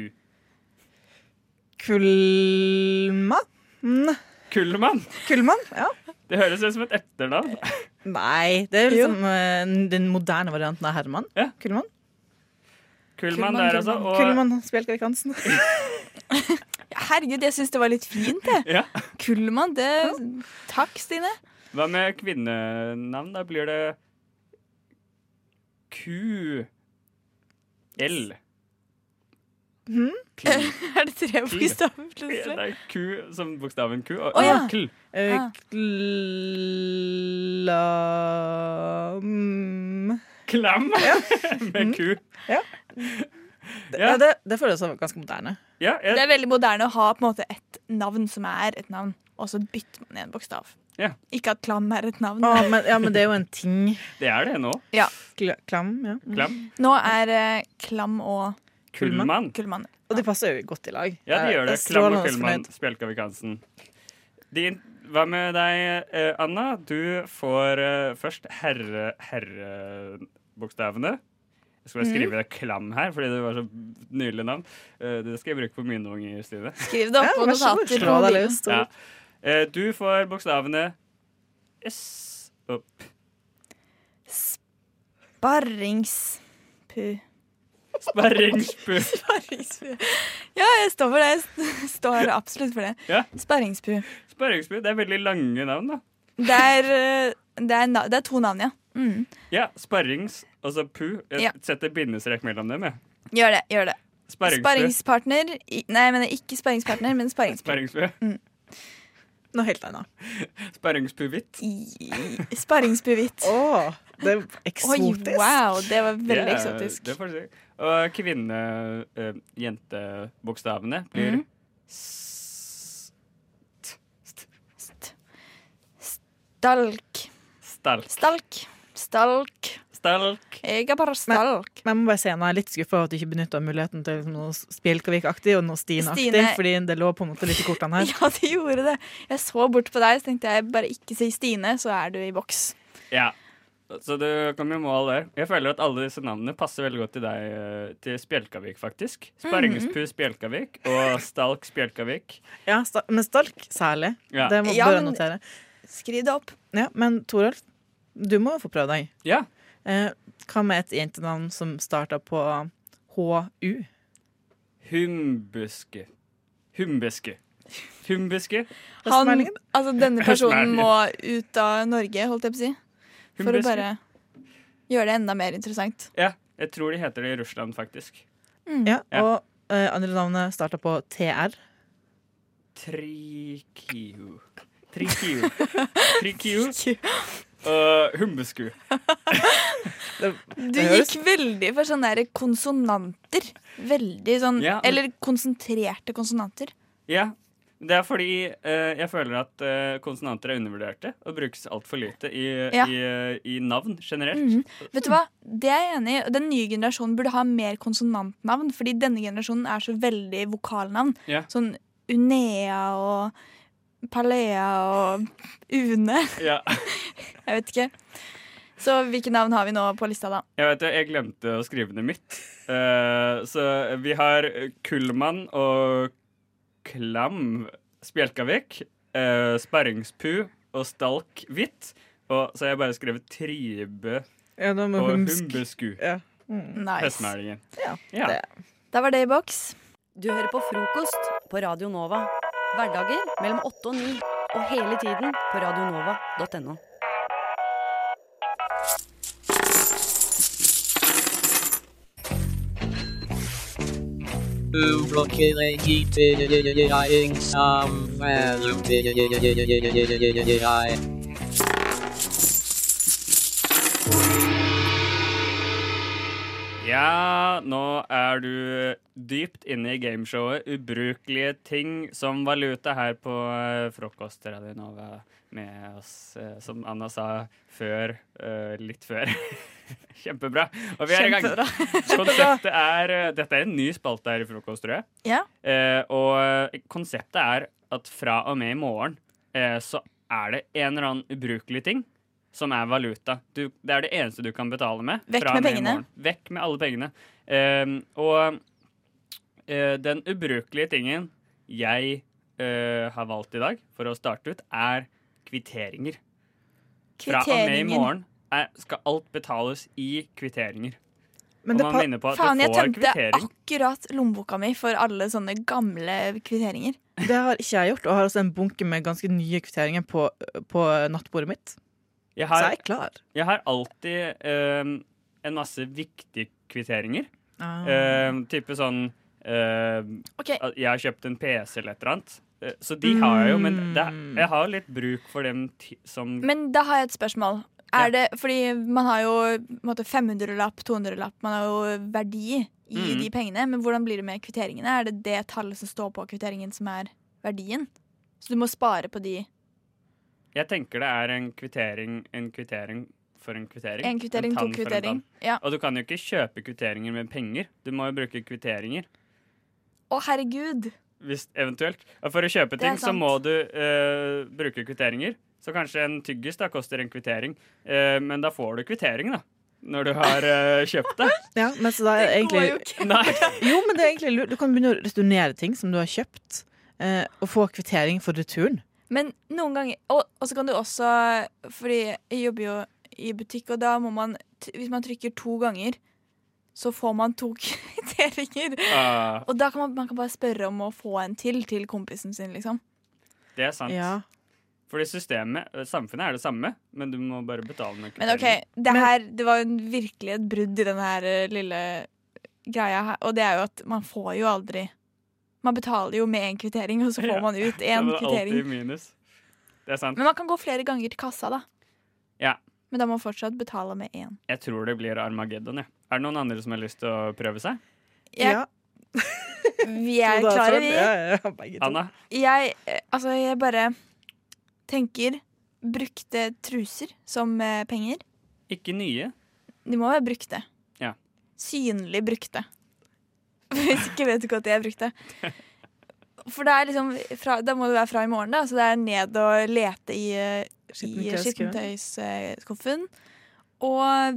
Speaker 10: Kulma? Mm.
Speaker 2: Kullmann?
Speaker 10: Kullmann, ja.
Speaker 2: Det høres ut som et etternavn.
Speaker 10: Nei, det er liksom eh, den moderne varianten av Herman. Kullmann.
Speaker 2: Kullmann der, altså. Og
Speaker 10: Kullmann Spjelkavik Hansen.
Speaker 5: Herregud, jeg syns det var litt fint, jeg.
Speaker 2: Ja.
Speaker 5: Kullmann, det Takk, Stine.
Speaker 2: hva med kvinnenavn? Da blir det Q-L.
Speaker 10: Hmm? Er det tre
Speaker 2: Kl.
Speaker 10: bokstaver
Speaker 2: Ja, det
Speaker 10: plutselig?
Speaker 2: er Q som bokstaven Q. Og
Speaker 10: Å, ja.
Speaker 2: kl.
Speaker 10: Eh,
Speaker 5: Ah.
Speaker 10: Klam
Speaker 2: Klem med ku.
Speaker 10: Det, ja. det, det føles som ganske moderne.
Speaker 5: Det er veldig moderne å ha på en måte et navn som er et navn, og så bytter man en bokstav.
Speaker 2: Ja.
Speaker 5: Ikke at klam er et navn.
Speaker 10: Å, men, ja, men det er jo en ting.
Speaker 2: Det er det nå.
Speaker 5: Ja.
Speaker 10: Kl klam, ja.
Speaker 2: Klem.
Speaker 5: Nå er eh, klam og
Speaker 2: Kullmann.
Speaker 5: Kullmann.
Speaker 10: Og de passer jo godt i lag.
Speaker 2: Ja,
Speaker 5: Eh,
Speaker 2: de gjør det.
Speaker 10: Jeg er
Speaker 2: Klam og
Speaker 10: strålende
Speaker 2: Kullmann, Spjelkavik Hansen. Din, hva med deg, eh, Anna? Du får eh, først herre- herrebokstavene. jeg
Speaker 5: Mhm.
Speaker 2: skal bare skrive det klam her, fordi det var så nydelig navn. Eh, det skal jeg bruke på mine unger, Stine.
Speaker 5: Skriv det opp Ja, på vær så god. notater.
Speaker 10: Slå deg løs, Tor.
Speaker 2: Ja. Eh, du får bokstavene S opp.
Speaker 5: Sparringspu.
Speaker 2: Sparringspu.
Speaker 5: Sparringspu. Ja, jeg står for det. Jeg st- står absolutt for det.
Speaker 2: Ja.
Speaker 5: Sparringspu.
Speaker 2: Sparringsbu. Det er veldig lange navn, da.
Speaker 5: Det er, eh, det er, na- det er to navn, ja. Mm.
Speaker 2: Ja, sparrings, altså pu. Jeg
Speaker 5: Ja.
Speaker 2: setter bindestrek mellom dem, jeg.
Speaker 5: Gjør det. gjør det.
Speaker 2: Sparringspu.
Speaker 5: Sparringspartner i, Nei, jeg mener ikke sparringspartner, men sparrings,
Speaker 2: Sparringsbu.
Speaker 5: Mm. noe helt annet.
Speaker 2: Sparringspuhvitt.
Speaker 5: Sparringsbevitt.
Speaker 10: Oh, det er
Speaker 5: Oi, wow, det var veldig
Speaker 2: Det er-
Speaker 5: eksotisk.
Speaker 2: Det får du si. Og kvinne-jentebokstavene blir
Speaker 5: Mhm. Stalk.
Speaker 2: stalk.
Speaker 5: Stalk. Stalk.
Speaker 2: Stalk.
Speaker 5: Jeg er bare stalk.
Speaker 10: Men jeg må bare si nå, jeg er litt skuffa over at du ikke benytta muligheten til liksom noe Spjelkavik-aktig og noe Stine-aktig,
Speaker 5: Stine-
Speaker 10: fordi det lå på en måte litt i kortene her.
Speaker 5: Ja, de gjorde det. Jeg så bort på deg, så tenkte jeg bare ikke si Stine, så er du i boks.
Speaker 2: Ja. Så du kom i mål der. Jeg føler at alle disse navnene passer veldig godt til deg, eh, til Spjelkavik, faktisk. Sparringspu Spjelkavik og Stalk Spjelkavik.
Speaker 10: Mhm. Ja, sta men Stalk særlig.
Speaker 2: Ja.
Speaker 10: Det må
Speaker 2: Ja,
Speaker 10: bør jeg
Speaker 2: men-
Speaker 10: notere.
Speaker 5: Skriv det opp.
Speaker 10: Ja, men Torolf, du må jo få prøve deg.
Speaker 2: Ja.
Speaker 10: Eh, hva med et jentenavn som starta på HU?
Speaker 2: Humbuske. Humbuske. Humbuske.
Speaker 5: Han, altså, denne personen
Speaker 2: Høstmeldingen.
Speaker 5: må ut av Norge, holdt jeg på å si. For å
Speaker 2: Humbuske.
Speaker 5: bare gjøre det enda mer interessant.
Speaker 2: Ja, jeg tror de heter det i Russland, faktisk.
Speaker 5: Mm.
Speaker 10: Ja,
Speaker 2: Ja.
Speaker 10: og eh, andre navnet starta på TR.
Speaker 2: Trikiu. Trikiu. Eh, Trikiu. Og humbesku.
Speaker 5: Du gikk veldig for sånne der konsonanter. Veldig sånn
Speaker 2: Ja, men-
Speaker 5: Eller konsentrerte konsonanter.
Speaker 2: Ja. Det er fordi eh, jeg føler at eh, konsonanter er undervurderte og brukes altfor lite i,
Speaker 5: Ja.
Speaker 2: i, eh, i navn generelt.
Speaker 5: Mhm. Vet du hva? Det er jeg enig i. Den nye generasjonen burde ha mer konsonantnavn, fordi denne generasjonen er så veldig vokalnavn.
Speaker 2: Ja.
Speaker 5: Sånn Unea og Palea og Une.
Speaker 2: Ja.
Speaker 5: Jeg vet ikke. Så hvilke navn har vi nå på lista, da?
Speaker 2: Jeg vet det, jeg glemte å skrive ned mitt. Eh, så vi har Kullmann og Klam Spjelkavik. eh, Sparringspu og Stalk Hvitt. Og så har jeg bare skrevet Tribe
Speaker 10: Ja, da må
Speaker 2: og
Speaker 10: humsk.
Speaker 2: Humbesku.
Speaker 10: Ja.
Speaker 14: Mm,
Speaker 4: Mm.
Speaker 14: Nice.
Speaker 2: Høstmeldingen. Mm, Ja.
Speaker 14: Da var det i boks. Du hører på frokost på Radio Nova. Hverdager mellom 8 og 9. Og hele tiden på radionova.no.
Speaker 29: Uklokkeleggitering samvær
Speaker 2: Ja, nå er du dypt inne i gameshowet Ubrukelige ting som valuta her på eh, frokostradio Nova med oss, eh, som Anna sa før, eh, litt før. Kjempebra. Og vi er i gang.
Speaker 5: Kjempebra.
Speaker 2: Konseptet er eh, Dette er en ny spalte her i frokost, tror jeg.
Speaker 5: Ja.
Speaker 2: Eh, og konseptet er at fra og med i morgen eh, så er det en eller annen ubrukelig ting som er valuta. Du, det er det eneste du kan betale med.
Speaker 5: Vekk
Speaker 2: fra
Speaker 5: med
Speaker 2: og i
Speaker 5: pengene.
Speaker 2: morgen. Vekk med alle pengene. Eh, og eh, den ubrukelige tingen jeg eh, har valgt i dag for å starte ut, er kvitteringer. Fra og med i
Speaker 5: Kvitteringer.
Speaker 2: morgen er, skal alt betales i kvitteringer.
Speaker 5: Men
Speaker 2: og man minner på at
Speaker 5: Faen,
Speaker 2: du
Speaker 5: jeg
Speaker 2: får
Speaker 5: tømte
Speaker 2: kvittering.
Speaker 5: akkurat lommeboka mi for alle sånne gamle kvitteringer.
Speaker 10: Det har ikke jeg gjort, og har også en bunke med ganske nye kvitteringer på, på nattbordet mitt.
Speaker 2: Jeg
Speaker 10: Så
Speaker 2: har,
Speaker 10: jeg er klar.
Speaker 2: Jeg har alltid ehm, en masse viktige kvitteringer.
Speaker 10: Ah.
Speaker 2: Ehm, type sånn ehm,
Speaker 5: Ok.
Speaker 2: at Jeg har kjøpt en PC eller et eller annet. Eh,
Speaker 5: Mm.
Speaker 2: Så de har jeg jo, men det, jeg har jo litt bruk for dem ti- som
Speaker 5: Men da har jeg et spørsmål. Er det, fordi man har jo på en måte, 500-lapp, 200-lapp, man har jo verdi i
Speaker 2: Mm.
Speaker 5: de pengene. Men hvordan blir det med kvitteringene? Er det det tallet som står på kvitteringen som er verdien? Så du må spare på de.
Speaker 2: Jeg tenker det er en kvittering, en kvittering for en kvittering.
Speaker 5: En kvittering, to
Speaker 2: tann for en
Speaker 5: kvittering,
Speaker 2: tann.
Speaker 5: ja.
Speaker 2: Og du kan jo ikke kjøpe kvitteringer med penger. Du må jo bruke kvitteringer.
Speaker 5: Å, herregud!
Speaker 2: Hvis eventuelt. Og for å kjøpe
Speaker 5: Det er
Speaker 2: ting så
Speaker 5: sant.
Speaker 2: må du eh, bruke kvitteringer. Så kanskje en tyggis da koster en kvittering. Eh, men da får du kvittering, da. Når du har eh, kjøpt det.
Speaker 10: Ja, men så da er det egentlig Jo, men det er egentlig lurt. Du kan begynne å returnere ting som du har kjøpt, eh, og få kvittering for returen.
Speaker 5: Men noen ganger Og, og så kan du også Fordi jeg jobber jo i butikk, og da må man t- Hvis man trykker to ganger, så får man to kvitteringer.
Speaker 2: Ah.
Speaker 5: Og da kan man, man kan bare spørre om å få en til til kompisen sin, liksom.
Speaker 2: Det er sant.
Speaker 5: Ja.
Speaker 2: Fordi systemet, eh, samfunnet er det samme, men du må bare betale med
Speaker 5: Men OK,
Speaker 2: kvitteringer.
Speaker 5: det her Det var jo virkelig et brudd i den her eh, lille greia her, og det er jo at man får jo aldri Man betaler jo med én kvittering, og så får man ut
Speaker 2: Da
Speaker 5: én
Speaker 2: var det
Speaker 5: kvittering.
Speaker 2: Alltid minus. Det er sant.
Speaker 5: Men man kan gå flere ganger til kassa, da.
Speaker 2: Ja.
Speaker 5: Men da må man fortsatt betale med én.
Speaker 2: Jeg tror det blir Armageddon, jeg. Er det noen andre som har lyst til å prøve seg?
Speaker 5: Jeg- Vi er
Speaker 10: Så da
Speaker 5: klare,
Speaker 10: tror
Speaker 5: vi.
Speaker 10: jeg- Ja, ja, begge to.
Speaker 2: Anna?
Speaker 5: Jeg, eh, altså, jeg bare tenker brukte truser som eh, penger.
Speaker 2: Ikke nye?
Speaker 5: De må være brukte.
Speaker 2: Ja.
Speaker 5: Synlig brukte. Hvis ikke vet du ikke at de er brukte. For det er liksom fra, Da må det være fra i morgen, da. Så det er ned og lete i, eh, i
Speaker 10: Skittentøyskuffen.
Speaker 5: skittentøysskuffen. Og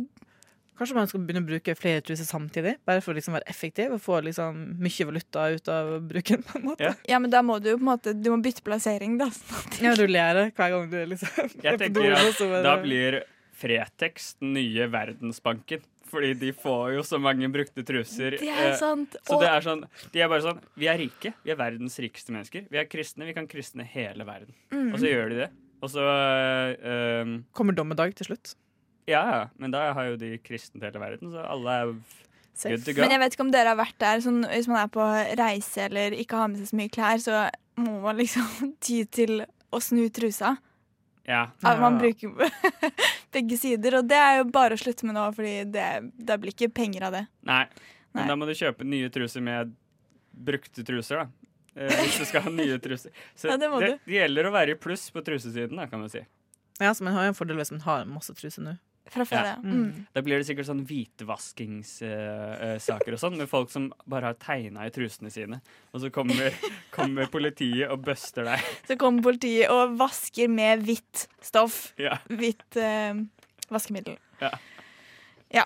Speaker 10: Kanskje man skal begynne å bruke flere truser samtidig, bare for å liksom være effektiv og få liksom mye valuta ut av bruken. på en måte.
Speaker 5: Ja, men da må du jo på en måte Du må bytte plassering, da. Sånn at-
Speaker 10: Ja, rullere hver gang du liksom er
Speaker 2: Jeg
Speaker 10: på do,
Speaker 2: tenker at
Speaker 10: så bare-
Speaker 2: da blir Fretex den nye Verdensbanken. Fordi de får jo så mange brukte truser.
Speaker 5: Det er
Speaker 2: eh,
Speaker 5: sant,
Speaker 2: Så
Speaker 5: og-
Speaker 2: det er sånn, de er bare sånn Vi er rike. Vi er verdens rikeste mennesker. Vi er kristne. Vi kan kristne hele verden.
Speaker 10: Mm.
Speaker 2: Og så gjør de det. Og så eh, um,
Speaker 10: Kommer dommedag til slutt.
Speaker 2: Ja, ja. Men da har jo de kristent hele verden, så alle er good to go.
Speaker 5: Men jeg vet ikke om dere har vært der. Sånn, hvis man er på reise eller ikke har med seg så mye klær, så må man liksom ty til å snu trusa.
Speaker 2: Ja.
Speaker 5: At man bruker begge sider. Og det er jo bare å slutte med nå, Fordi det, det blir ikke penger av det.
Speaker 2: Nei. Men da må du kjøpe nye truser med brukte truser, da. Eh, hvis du skal ha nye truser. Så
Speaker 10: Ja, det må
Speaker 2: det, det gjelder å være i pluss på trusesiden, da, kan man si.
Speaker 10: Ja, så man har jo en fordel hvis man har masse truser nå.
Speaker 5: Fra
Speaker 2: Ja.
Speaker 10: Mm.
Speaker 2: Da blir det sikkert sånn hvitvaskingssaker og sånn, med folk som bare har tegna i trusene sine. Og så kommer, kommer politiet og buster deg.
Speaker 5: Så kommer politiet og vasker med hvitt stoff.
Speaker 2: Ja.
Speaker 5: Hvitt eh, vaskemiddel.
Speaker 2: Ja.
Speaker 5: Ja.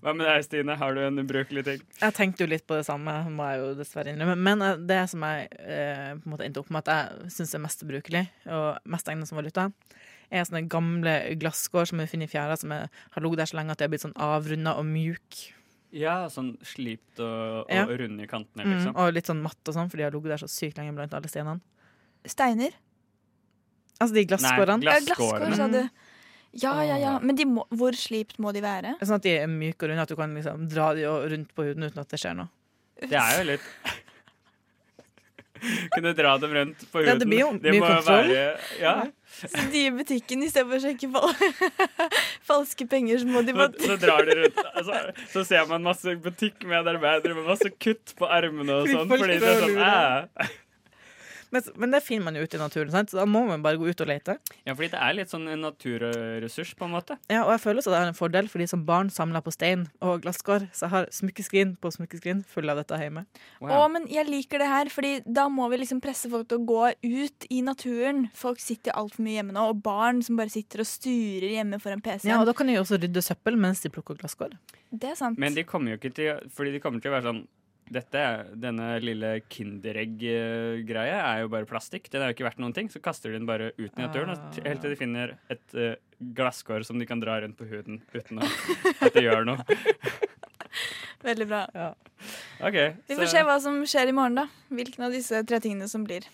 Speaker 2: Hva med deg, Stine? Har du en ubrukelig ting?
Speaker 10: Jeg tenkte jo litt på det samme, må jeg jo dessverre innrømme. Men eh, det som jeg eh, på en måte endte opp med at jeg syns er mest brukelig, og mest egnet som valuta, er sånne gamle glasskår som vi finner i fjæra, som er, har ligget der så lenge at de har blitt sånn avrunda og mjuke.
Speaker 2: Ja, sånn slipt og, og
Speaker 10: Ja.
Speaker 2: runde i kantene,
Speaker 10: Mm,
Speaker 2: liksom.
Speaker 10: og litt sånn matt og sånn, for de har ligget der så sykt lenge blant alle steinene.
Speaker 5: Steiner.
Speaker 10: Altså de Mm. glasskårene.
Speaker 5: Ja, glasskår, sa du. Ja, ja, ja. Men de må, hvor slipt må de være?
Speaker 10: Mm, Sånn at de er myke og runde, at du kan liksom dra de og- rundt på huden uten at det skjer noe.
Speaker 2: Det er jo litt Kunne dra dem rundt på huden.
Speaker 10: Ja, det blir jo mye
Speaker 2: må jo
Speaker 10: kontroll.
Speaker 2: være- Ja.
Speaker 5: Så de i butikken, istedenfor å sjekke fal falske penger, så må de
Speaker 2: Så,
Speaker 5: bare
Speaker 2: så drar de rundt. Altså, så ser man masse butikkmedarbeidere med masse kutt på armene og
Speaker 10: Fordi
Speaker 2: sånn.
Speaker 10: folk
Speaker 2: Fordi det er sånn,
Speaker 10: prøver
Speaker 2: æ.
Speaker 10: Men, men det finner man jo ute i naturen, sant? så da må man bare gå ut og lete.
Speaker 2: Ja, fordi det er litt sånn en naturressurs, på en måte.
Speaker 10: Ja, og jeg føler også at det er en fordel, fordi som barn samler på stein og glasskår, så jeg har smykkeskrin på smykkeskrin full av dette hjemme.
Speaker 5: Å, men jeg liker det her, Fordi da må vi liksom presse folk til å gå ut i naturen. Folk sitter altfor mye hjemme nå, og barn som bare sitter og sturer hjemme foran PC-en.
Speaker 10: Ja, og da kan de jo også rydde søppel mens de plukker glasskår.
Speaker 5: Det er sant.
Speaker 2: Men de kommer jo ikke til Fordi de kommer til å være sånn dette, er- Denne lille Kinderegg-greia er jo bare plastikk. Den er jo ikke verdt noen ting. Så kaster de den bare ut i naturen og t- helt til de finner et eh, glasskår som de kan dra rundt på huden uten å, at det gjør noe.
Speaker 5: Veldig bra.
Speaker 2: OK.
Speaker 5: Vi får
Speaker 2: så-
Speaker 5: se hva som skjer i morgen, da. Hvilken av disse tre tingene som blir.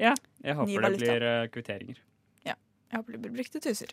Speaker 2: Ja, jeg
Speaker 5: Ny
Speaker 2: håper det
Speaker 5: valuta.
Speaker 2: blir eh, kvitteringer.
Speaker 5: Ja. Jeg håper det blir brukte tuser.